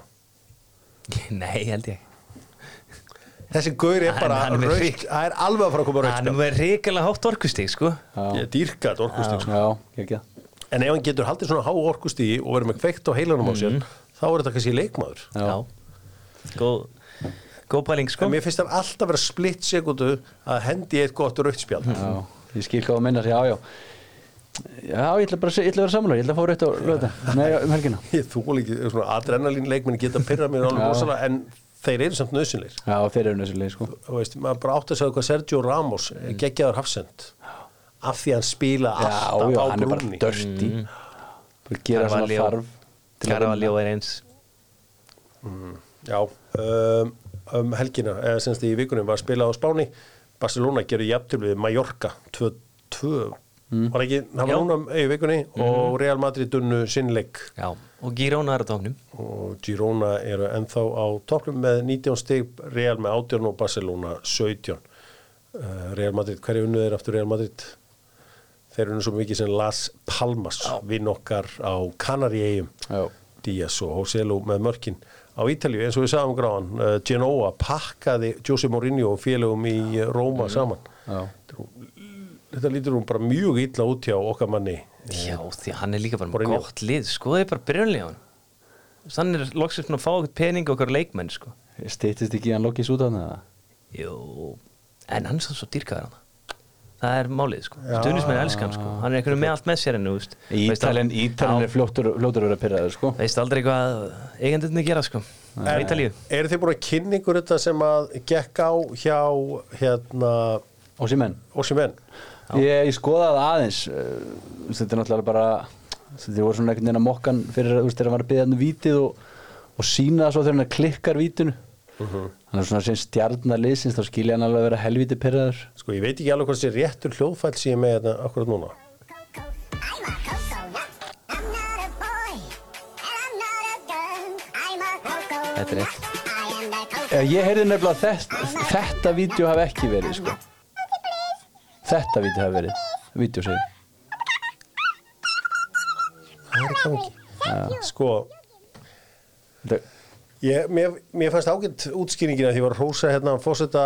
Speaker 3: nei, held ég
Speaker 1: þessi gaur er
Speaker 3: Hann-
Speaker 1: bara
Speaker 3: hann er
Speaker 1: raukt það er alveg að fara að koma
Speaker 3: hann
Speaker 1: raukt
Speaker 3: var reikalega hátt orkustig sko
Speaker 1: ég
Speaker 2: Já,
Speaker 1: er dýrkat orkustíg
Speaker 2: já, ekki það
Speaker 1: en ef hann getur haldið svona há orkustígi og verið með kveikt á heilanum á sér þá er þetta kannski leikmaður
Speaker 2: Mm. Já.
Speaker 3: já, góð góð pæling sko
Speaker 1: en mér finnst hann alltaf vera splitt sekundu að hendi í eitt gott rautspjald
Speaker 2: Já, ég skil hvað að minna sér, já, já Já, ég ætla bara að se- ég ætla að vera samlega, ég ætla að fá rétt á lögða Nei, um helgina
Speaker 1: ég þúl ekki svona adrenalín leikmenn geta pyrra mér alveg
Speaker 2: Já.
Speaker 1: rosalega en þeir eru samt nöðsynleir
Speaker 2: Já, þeir eru nössulega, sko
Speaker 1: þú veist, maður bara átt að segja hvað Sergio Ramos mm. geggjaður hafsend af því að hann spila
Speaker 2: Já,
Speaker 1: alltaf
Speaker 2: já,
Speaker 1: á
Speaker 2: hann er bara
Speaker 1: brúnni Mm.
Speaker 2: dörsti Bara gera svona
Speaker 3: Carvalho.
Speaker 2: þarf til að
Speaker 3: Carvalho er eins
Speaker 1: Já, um, um helgina eða semst í vikunum var spilað á Spáni Barcelona gerði jafntölu við Mallorca 2-2 var ekki, það var
Speaker 3: Mm. Já. Mhm.
Speaker 1: núna í vikunni og Real Madrid unnu sinnleik
Speaker 3: já, og Girona er á tóknum
Speaker 1: og Girona eru ennþá á toppnum með 19 stig, Real með 18 og Barcelona 17 uh, Real Madrid, hverju unnu þeir aftur Real Madrid? Þeir unnu svo mikið sem Las Palmas, vinn okkar á Kanaríegjum
Speaker 2: Já.
Speaker 1: Díaz og Hoselu með mörkin á Ítalju, eins og við sagðum gráðan uh, Genoa pakkaði Jose Mourinho og félögum í uh, Róma saman
Speaker 2: Já.
Speaker 1: þetta lítur hún bara mjög illa út hjá okkar manni
Speaker 3: já, því hann er líka bara með
Speaker 1: Mourinho.
Speaker 3: gott lið skoðið bara byrjunlega hann hann er loksins búinn að fá okkur pening og okkur leikmenn sko
Speaker 2: Styttist ekki í hann lokis út af það
Speaker 3: Jú, en hann er svo- svo dýrkaður hann Það er málið sko, stuðnismenn elskar hann sko Hann er einhvern veginn með allt með sér hennu
Speaker 2: Ítalinn Ítalinn er fljóttur, fljóttur að vera pyrraður sko.
Speaker 3: Veist aldrei hvað eigendurni gera sko Það er Ítalíu
Speaker 1: Eru þið búin að kynna ykkur þetta sem að gekk á hjá hérna
Speaker 2: og sem enn
Speaker 1: Ósimenn?
Speaker 2: ég, ég skoðaði aðeins uh, þetta er náttúrulega bara þetta voru svona einhvern veginn að mokkan fyrir þú veist, þegar hann var að byggja hann vítið og, og sína það svo þegar hann klikkar vítinu hann er svona sem stjarnar liðsins þá skilja hann alveg að vera helviti pyrraður
Speaker 1: Sko ég veit ekki alveg hvað þessi réttur hljóðfæll sem ég er með hérna akkurat núna.
Speaker 4: Coco. I'm a Coco nut. I'm not a boy. And I'm not a girl. I'm a Coco
Speaker 3: Þetta er rétt.
Speaker 4: nut. I am the Coco.
Speaker 2: Eh, ég heyrði nefnilega að þetta, þetta vídeo hafi ekki verið sko. þetta vídeo hafi verið vídeo segir
Speaker 1: Það er í gangi. Sko,
Speaker 2: Þetta-
Speaker 1: ég, mér, mér fannst ágætt útskýringina því ég var að hrósa hérna að fórseta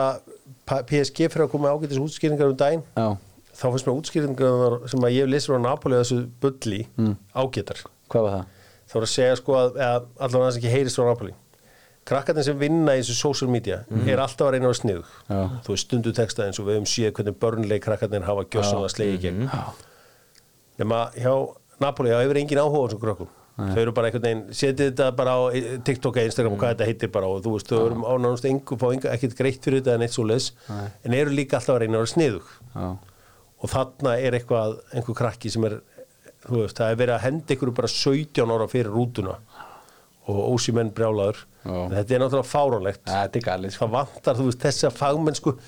Speaker 1: PSG fyrir að koma með ágættis útskýringar um daginn.
Speaker 2: já,
Speaker 1: Þá fannst mér útskýringar sem að ég hef lesið frá Napoli að þessu bulli
Speaker 2: Mm.
Speaker 1: ágættar.
Speaker 2: hvað var það?
Speaker 1: þá er að segja sko að, að allavega það sem ekki heyrist frá Napoli krakkarnir sem vinna í þessu social media er alltaf að reyna að vera sniðug
Speaker 2: Mm. Já.
Speaker 1: þú veist stundu texta eins og við höfum séð hvernig börnleik krakkarnir hafa gjössum að slegi í gegn
Speaker 2: Já. Mhm.
Speaker 1: nema hjá Napoli þá hefur engin áhuga á þessum krökkum þau eru bara einhvern veginn, setið þetta bara á eh, TikTok eða Instagram,
Speaker 2: Mm.
Speaker 1: hvað þetta heitir bara og þú veist, þau eru á nánast engu, fá engu, ekkert greitt fyrir þetta en eitt svo les, en eru líka alltaf að reyna að vera sniðug
Speaker 2: Já.
Speaker 1: og þarna er eitthvað, einhver krakki sem er þú veist, það er verið að henda ykkur bara 17 ára fyrir rútuna og ósímenn brjálaður
Speaker 2: Já.
Speaker 1: þetta er náttúrulega fáránlegt
Speaker 2: Ja, þetta er Mhm. galið sko.
Speaker 1: það vantar, þú veist, þessa fagmennsku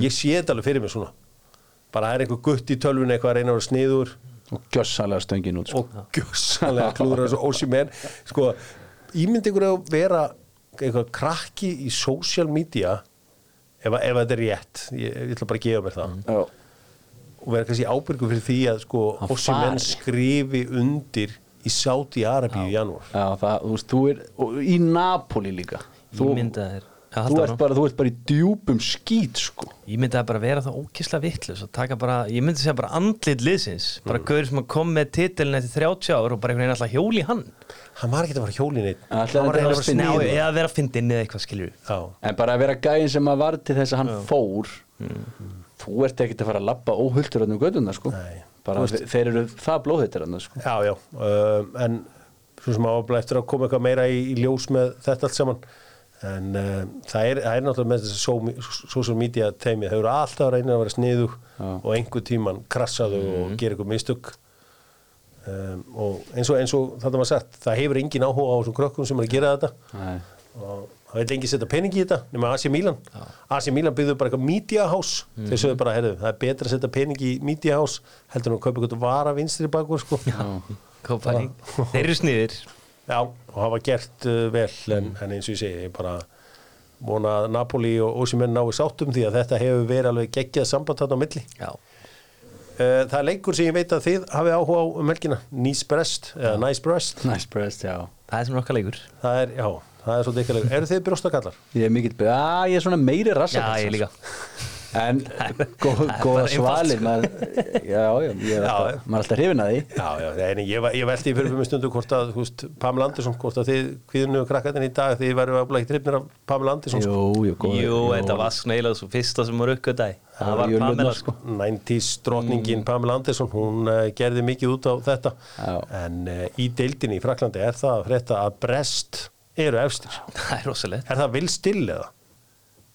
Speaker 1: ég sé þetta alveg fyrir mig svona bara það er einhver gutt í tölvunni eitthvað að reyna að vera sniður
Speaker 2: og gjössalega stöngin út sko.
Speaker 1: og gjössalega klúður þessu ósímenn sko, ímyndi ykkur að vera eitthvað krakki í social media ef, að- ef þetta er rétt ég, ég ætla bara að gefa mér það
Speaker 2: Já.
Speaker 1: og vera kannski ábyrgur fyrir því að sko,
Speaker 2: Hann
Speaker 1: Ossimenn
Speaker 2: fari.
Speaker 1: skrifi undir í Sáti Arabíu í janúar
Speaker 2: Já, það, þú veist, þú er og í Napoli líka þú,
Speaker 3: Ég mynda þér Já,
Speaker 2: þú,
Speaker 3: haltu
Speaker 2: ert
Speaker 3: áfram.
Speaker 2: bara, þú ert bara í djúpum skít sko.
Speaker 3: Ég myndi að bara vera það ókísla vittlust og taka bara, ég myndi segja bara andlit liðsins bara mm. gaur sem að kom með titilin eftir 30 ár og bara einhvern veginn alltaf hjóli hann
Speaker 1: hann var ekki að fara hjólin einn
Speaker 2: Ætlaði
Speaker 1: hann var að
Speaker 2: þetta
Speaker 1: reyna
Speaker 2: að
Speaker 1: að
Speaker 2: Fyndin.
Speaker 3: Ná,
Speaker 1: sniða
Speaker 3: eða vera fyndin eða eitthvað skilur
Speaker 1: já,
Speaker 2: en bara að vera gæin sem að var til þess að hann fór þú ert ekkert að fara að labba óhulltur hann um göduna sko.
Speaker 1: Nei.
Speaker 2: bara þe- þeir eru það blóðhittir hann sko.
Speaker 1: já, já. Um, en svo sem áblæð eftir að koma eitthvað meira í, í ljós með þetta allt saman en um, það, er, það er náttúrulega með þessi só- social media teimi þau eru alltaf að reyna að vera sniðu
Speaker 2: Já. Mhm.
Speaker 1: og einhver tíman krassaðu og gera eitthvað mistök um, og eins og, eins og þetta var sagt það hefur engin áhuga á þessum krökkum sem er að gera þetta
Speaker 2: Nei.
Speaker 1: og það veit engin setja pening í þetta nema AC Milan AC Milan byggðu bara eitthvað media house þeir sögðu bara, heyrðu, það er betra að setja pening í media house heldur en að kaupa eitthvað vara vinstri bakur sko. já.
Speaker 3: Kópaði, þeir eru sniðir
Speaker 1: og hafa gert uh, vel en, en eins og ég segi, ég bara vona að Napoli og Ósimenn nái sáttum því að þetta hefur verið alveg geggjað samband þarna á milli
Speaker 3: Já,
Speaker 1: uh, það er leikur sem ég veit að þið hafi áhuga á um helgina, Nice Brest eða Nice Brest,
Speaker 2: nice press, já
Speaker 3: það er sem okkar leikur
Speaker 1: það er, já, það er svolítið ykkarlegur eru þið brjóstakallar?
Speaker 2: ég er mikill, að ég er svona meiri
Speaker 3: Já,
Speaker 2: rassabass
Speaker 3: ég líka
Speaker 2: en góð,
Speaker 3: það er
Speaker 2: góða
Speaker 3: bara einfalt,
Speaker 2: svalir
Speaker 3: sko.
Speaker 2: maður, já, já, ég er
Speaker 1: Já.
Speaker 2: alltaf, maður er alltaf hrifin að því
Speaker 1: Já, já, en ég, var- ég veldi í fyrir fyrir stundu hvort að, þú veist, Pamela Andersson, hvort að þið kvíðinu krakkarnir í dag, þið verður að blækja trippnir af Pamela Andersson, sko.
Speaker 2: jú, jú, góð,
Speaker 3: Jú, þetta var svona eiginlega svo fyrsta sem voru aukvöð dag Það var Pamela sko
Speaker 1: 90s
Speaker 3: Mm.
Speaker 1: drotningin Pamela Andersson, hún uh, gerði mikið út á þetta,
Speaker 2: Já.
Speaker 1: en uh, í deildinni í Fraklandi er það að frétta að Brest eru efstir.
Speaker 3: Það er rosalegt
Speaker 1: Er það Vilstill eða?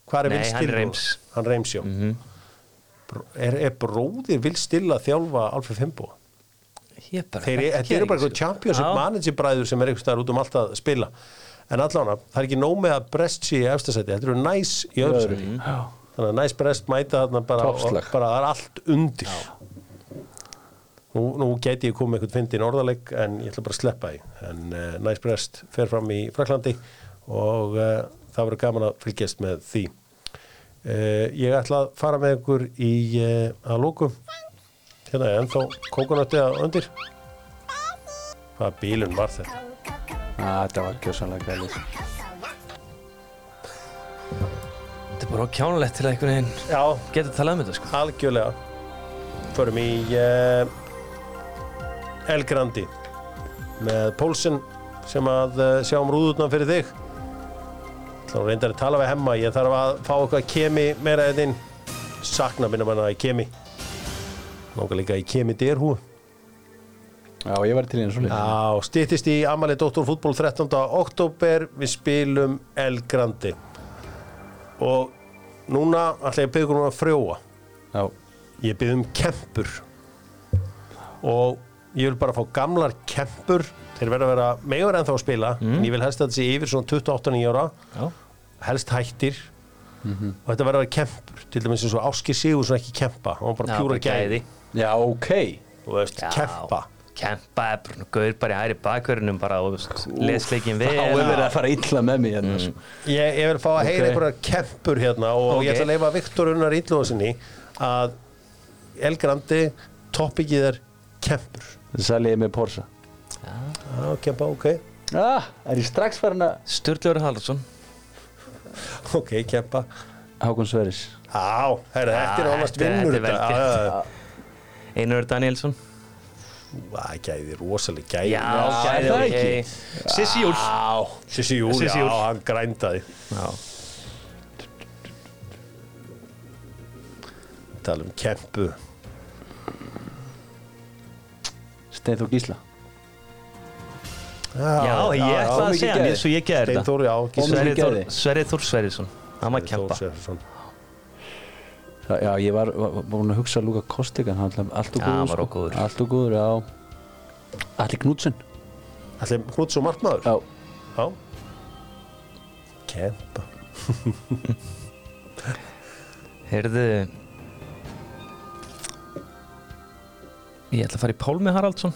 Speaker 1: Hvað er
Speaker 3: Nei,
Speaker 1: Vilstill?
Speaker 3: hann er Reims. Mhm.
Speaker 1: Hann Reims, já. Bró- Er, er bróðir Vilstill að þjálfa Alfred Fimbo?
Speaker 3: Ég bara
Speaker 1: Þeir, þetta eru
Speaker 3: þekki ekki,
Speaker 1: bara
Speaker 3: sko.
Speaker 1: eitthvað championship
Speaker 3: Já.
Speaker 1: managerbræður sem er einhvers staðar út um allt að spila en allána, það er ekki nóg með að brest sé í efstasæti, þetta eru næs í öðru sæti þannig að næs brest mæta þarna bara, og,
Speaker 2: Toppslag.
Speaker 1: bara það er allt undir nú, nú gæti ég komið eitthvað fyndin orðaleg en ég ætla bara að sleppa því en uh, næs brest fer fram í Fraklandi og uh, það verður gaman að fylgjast með því uh, ég ætla að fara með ykkur í uh, að lókum hérna er ennþá kókanötti að undir Hvaða bílun var þetta?
Speaker 2: Ah, þetta var gjössanlega gæli sko.
Speaker 3: Þetta er bara kjánulegt til að einhvern veginn
Speaker 1: Já,
Speaker 3: Getur talað um þetta sko
Speaker 1: algjörlega Förum í uh, El Grandi með Pólsen sem að uh, sjáum rúðutna fyrir þig Þá reyndar að tala við hemma ég þarf að fá eitthvað kemi meira eða inn sakna minna manna í kemi Nóka líka í kemi derhú
Speaker 2: já, ég var til í einu svolítið
Speaker 1: Já, stýttist í Amali Dóttor fútból 13. oktober við spilum El Grandi og núna ætla ég að byggja um að frjóa
Speaker 2: já,
Speaker 1: ég byrði um kempur og ég vil bara fá gamlar kempur þeir verða að vera megur ennþá að spila en ég vil helst að þetta sé yfir svona 28-9 ára
Speaker 3: Já.
Speaker 1: helst hættir og þetta verða að vera kempur til dæmis eins og Áski Sigur svona ekki kempa hann var bara
Speaker 3: Já,
Speaker 1: pjúra
Speaker 3: bara
Speaker 1: gæði
Speaker 2: já, ok
Speaker 1: og veist,
Speaker 3: Já.
Speaker 1: kempa
Speaker 3: Kempa er bara svona Gauður bara í hæri bakverðinum bara og lesleikin vel Mm.
Speaker 2: þá er verið að fara illa með mér hérna, sko.
Speaker 1: Ég, ég vil fá að heyra einhverjar kempur hérna og ég
Speaker 3: Ok.
Speaker 1: ætla að leifa Viktor Unnar Ítlóðasinni að Elgrandi toppikið er kempur.
Speaker 2: Saliði með Porsa
Speaker 1: Já, kempa, ok.
Speaker 2: ah, Er ég strax farin að
Speaker 3: Sturljóri Haldursson
Speaker 1: Ok, kempa.
Speaker 2: Hákon Sveris
Speaker 1: Já, herra, þetta er
Speaker 3: Já,
Speaker 1: ánast
Speaker 3: þetta-
Speaker 1: vinnur
Speaker 3: þetta er vel
Speaker 1: þetta.
Speaker 3: gert.
Speaker 1: Já,
Speaker 3: Einar Danielsson
Speaker 1: já, já. Það gæði rosalega gæði.
Speaker 2: er það
Speaker 3: ok.
Speaker 2: ekki?
Speaker 3: Sissi Júls
Speaker 1: Já, Sissi Júl,
Speaker 3: Sissi Júl.
Speaker 1: já, hann grændaði.
Speaker 3: Já.
Speaker 1: Tala um kempu.
Speaker 2: Steinþór Gísla
Speaker 3: Já, ég ætla að
Speaker 2: mikið
Speaker 3: segja hann
Speaker 2: gæði.
Speaker 3: eins og ég gerði þetta
Speaker 1: Steinþór, já, Gísli
Speaker 3: Sverri
Speaker 2: mikið
Speaker 3: Þór,
Speaker 2: gæði.
Speaker 3: Sverri Þór Sverrisson hann var að kempa
Speaker 1: Sverrisson.
Speaker 2: Þa- Já, ég var, var, var búin að hugsa að Luka Kostik en hann var alltaf- allt og
Speaker 3: Já,
Speaker 2: góður
Speaker 3: hann var
Speaker 2: sko.
Speaker 3: ógóður.
Speaker 2: Allt og góður, já Alli Knútsson
Speaker 1: Allir Knúts og markmaður
Speaker 2: Já,
Speaker 1: Já Kempa
Speaker 3: Heyrðu Ég ætla að fara í Pálmi Haraldsson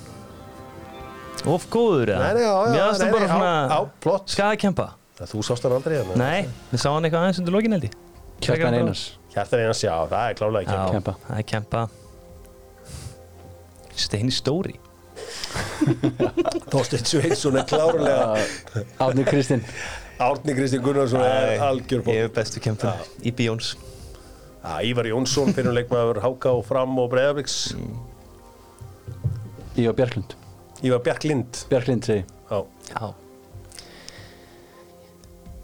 Speaker 3: Of góður eða?
Speaker 1: Nei, nei, já, já,
Speaker 3: Mér aðstum
Speaker 1: nei,
Speaker 3: bara
Speaker 1: nei, já, já,
Speaker 3: svona
Speaker 1: flott.
Speaker 3: Skagakempa
Speaker 1: Það Þú sást hann aldrei hérna
Speaker 3: Nei, við sáum hann eitthvað aðeins undir lokin held ég
Speaker 2: Kjartan Einars
Speaker 1: Hjartan Einars, já, það er klálega
Speaker 3: Já,
Speaker 1: Kempa
Speaker 2: Kempa.
Speaker 3: það er Kempa Steini Stóri
Speaker 1: Þorsteinn Sveinsson er klárlega
Speaker 2: Átni Kristinn
Speaker 1: Árni Kristi Gunnarsson er algjör bótt
Speaker 3: Ég er bestu Kempa í Bjóns
Speaker 1: Ívar Jónsson, finnum leikmaður Háka og Fram og Breiðabriks
Speaker 3: Mm.
Speaker 2: Í og Bjarklund
Speaker 1: Ívar Bjarklind
Speaker 2: Bjarklind segi ég.
Speaker 1: Já,
Speaker 3: Já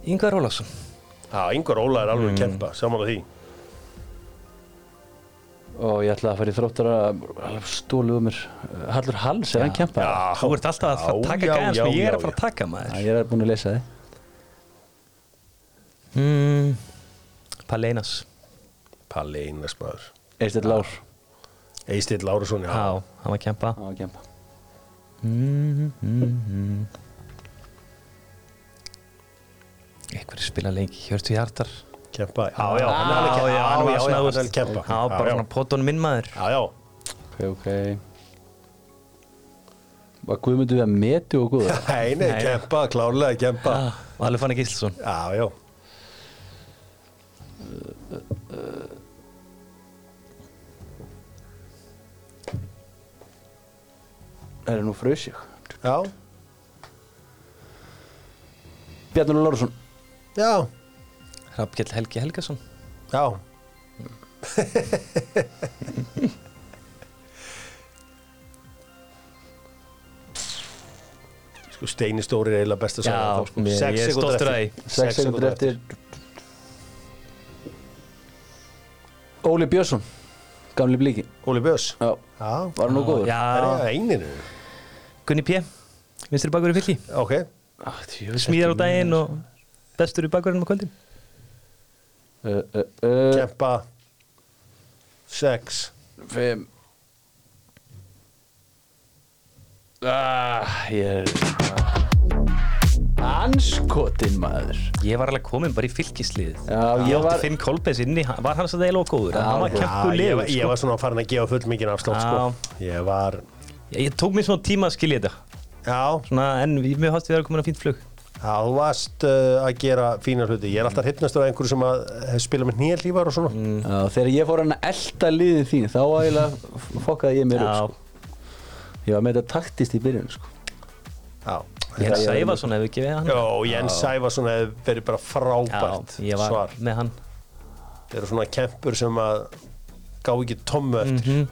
Speaker 3: Yngvar Ólafsson
Speaker 1: já Ingvar Óla er
Speaker 3: Mm.
Speaker 1: alveg Kempa, samanlega því
Speaker 2: Og ég ætla að fara í þróttara Stólu um mér Hallur Halls, er hann kempa?
Speaker 3: Þú ert alltaf að fara að
Speaker 1: Já,
Speaker 3: taka
Speaker 1: já,
Speaker 3: gæðan sem
Speaker 1: já,
Speaker 3: ég er
Speaker 1: já,
Speaker 3: að fara að taka maður
Speaker 2: Ég er búin að lesa þið
Speaker 3: mm, Paleinas
Speaker 1: Palli Einars maður
Speaker 2: Eistir Lár
Speaker 1: Eistill Lárusson, já
Speaker 3: Já, hann var kempa
Speaker 2: Á kempa
Speaker 3: Einhverju spila lengi, Hjörtu Hjartar
Speaker 1: Kempa, já, já, hann er
Speaker 3: já,
Speaker 1: alveg
Speaker 3: já,
Speaker 1: hann
Speaker 3: já,
Speaker 1: var
Speaker 3: já,
Speaker 1: svona-
Speaker 3: já,
Speaker 1: hann er Kempa
Speaker 3: Já, bara svona potun minn maður
Speaker 1: Já, já,
Speaker 2: Ok, ok Var Guðmundur við að meti og góða?
Speaker 1: Nei, nei,
Speaker 3: Nei,
Speaker 1: Kempa, klárlega Kempa
Speaker 3: Og alveg fann ekki Íslsson
Speaker 1: Já, já
Speaker 2: Er nú fraus ég
Speaker 1: Já,
Speaker 2: Bjarnur Lárusson
Speaker 1: já,
Speaker 3: Hrafnkell Helgi Helgason
Speaker 1: já Sko Steini Stóri er eiginlega besta sagan
Speaker 3: Já,
Speaker 1: þá, sko.
Speaker 3: mér-
Speaker 1: Sex
Speaker 3: ég er
Speaker 1: sekúndur
Speaker 3: stoltur
Speaker 1: eftir.
Speaker 3: af
Speaker 1: Sex
Speaker 2: 6 sekundur
Speaker 1: sekúndur
Speaker 2: eftir Óli Björnsson Gamli blíki
Speaker 1: Óli Björns
Speaker 2: Já,
Speaker 1: Já,
Speaker 2: var hann nú
Speaker 1: það
Speaker 2: góður?
Speaker 1: er
Speaker 3: Já,
Speaker 1: það eininu
Speaker 3: Gunni P Vinstri bakverið fylki
Speaker 1: Ok,
Speaker 2: Ah, djöfull, þetta
Speaker 3: Smíðar á
Speaker 2: er
Speaker 3: daginn
Speaker 2: mjög-
Speaker 3: og bestur í bakverðinum á kvöldin
Speaker 2: Ö, ö, ö,
Speaker 1: kempa Sex
Speaker 2: Fimm Ah, ég er Anskotin maður
Speaker 3: Ég var alveg komin bara í fylkislið
Speaker 2: Já, ég
Speaker 3: Ég átti
Speaker 2: var-
Speaker 3: Finn Kolbens inni, hann- var hans að það er lókóður
Speaker 2: Já,
Speaker 3: Hann var
Speaker 2: ok.
Speaker 1: Já, ég,
Speaker 3: kempu
Speaker 1: var-
Speaker 3: liður
Speaker 1: ég
Speaker 3: sko.
Speaker 1: var svona farin að gefa fullmikinn afslátt
Speaker 3: Já.
Speaker 1: sko. Ég var
Speaker 3: Ég- Ég tók mér smá tíma að skilja þetta
Speaker 1: Já,
Speaker 3: Svona, en við- mér hafst við að koma að fínt flug
Speaker 1: Já, þú varst uh, að gera fínar hluti. Ég er alltaf hrypnast af einhverju sem að eh, spila með nýjarlífar og svona.
Speaker 3: Mm.
Speaker 2: Já, þegar ég fór hann að elta liðið þín þá eiginlega fokkaði ég mér upp
Speaker 3: Já,
Speaker 2: sko. Ég var með þetta taktist í byrjun sko.
Speaker 1: Já.
Speaker 3: Jens
Speaker 2: Já, ég-
Speaker 3: Sæfarsson hefur gefið hann
Speaker 1: Jó, Jens Sæfarsson hefur verið bara frábært
Speaker 3: Já, ég var
Speaker 1: svar.
Speaker 3: með hann
Speaker 1: Þeir eru svona kempur sem að gá ekki tommu eftir.
Speaker 3: Mhm.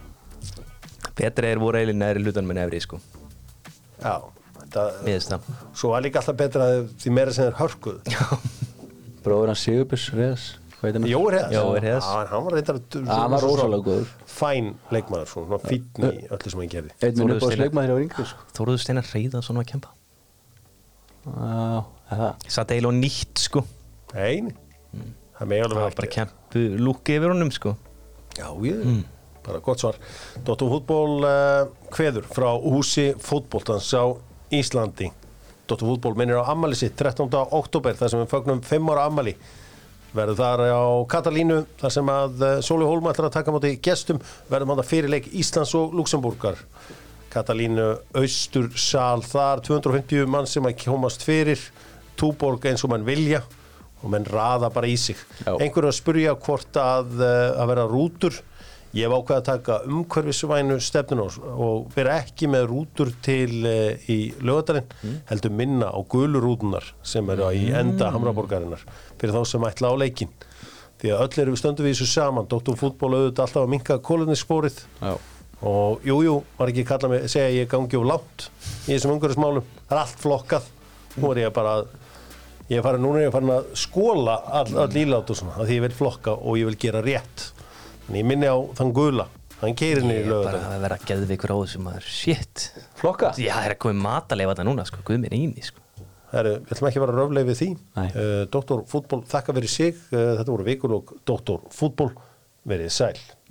Speaker 3: Betri er voru eiginlega næri lutan með nefri sko
Speaker 1: Já, þetta,
Speaker 3: Mér finnst það
Speaker 1: svo var líka alltaf betra að því meira sem þeir hörkuð.
Speaker 2: Bróður hann Sigurbjörns Reðas Hvað heitir hann?
Speaker 1: Jói Reðas.
Speaker 3: Jói Hreiðars.
Speaker 1: Já, en hann var reyndar að...
Speaker 2: Hann var rosalega góður.
Speaker 1: Fæn leikmaður, svona fínn í öllu sem hann gerði.
Speaker 2: Einn minn
Speaker 3: Þórður
Speaker 2: upp á
Speaker 3: Steinar.
Speaker 2: sleikmaður á yngri sko.
Speaker 3: Þóruður Steinar Reyðarsson var að kempa
Speaker 2: Já, er það
Speaker 3: Satt eiginlega á nýtt sko
Speaker 1: Nei, það með alveg
Speaker 3: Mm. Það var bara kempu lúki yfir honum sko
Speaker 1: Já, ég, bara gott svar. Dóttum fútból uh, kveður frá húsi fútbóltans á Íslandi. Dóttum fútból minnir á ammali sitt 13. oktober þar sem við fögnum 5 ára ammali. Verður þar á Katalínu þar sem að uh, Sóli Hólma ætlar að taka á móti gestum. Verðum að fyrirleik Íslands og Luxemburgar. Katalínu austur sal þar 250 mann sem að komast fyrir túborg eins og mann vilja og menn raða bara í sig
Speaker 2: Já.
Speaker 1: einhverju að spurja hvort að, eh, að vera rútur ég hef ákveð að taka umhverfisvænu stefnun og, og vera ekki með rútur til eh, í lögadalinn heldur minna á gulurútunar sem eru í enda Hamraborgarinnar fyrir þá sem ætla á leikin því að öll eru við stöndum við þessu saman Dóttum fútból auðvitað alltaf að minka kólunissporið
Speaker 2: Já.
Speaker 1: og jújú, jú, var ekki kallað mig segja að ég gangi of langt í þessum umhverfismálum, það er allt flokkað nú er ég bara að ég er farin, núna er ég farin að skóla all, all ílát og svona, af því ég vil flokka og ég vil gera rétt, en ég minni á þann gula, hann keirir niður í
Speaker 3: Ég er bara
Speaker 1: lögðan
Speaker 3: að vera að geða við ykkur á þessu maður Shit
Speaker 2: Flokka?
Speaker 3: Já, það er að koma mataleifa þetta núna sko Guð mér eini sko
Speaker 1: Herru, við ætlum ekki að vera röfleg við því
Speaker 2: Nei.
Speaker 1: uh, Eh, Dóttor Fútból, þakka fyrir sig uh, þetta voru vikulók Dóttor Fútból verið sæl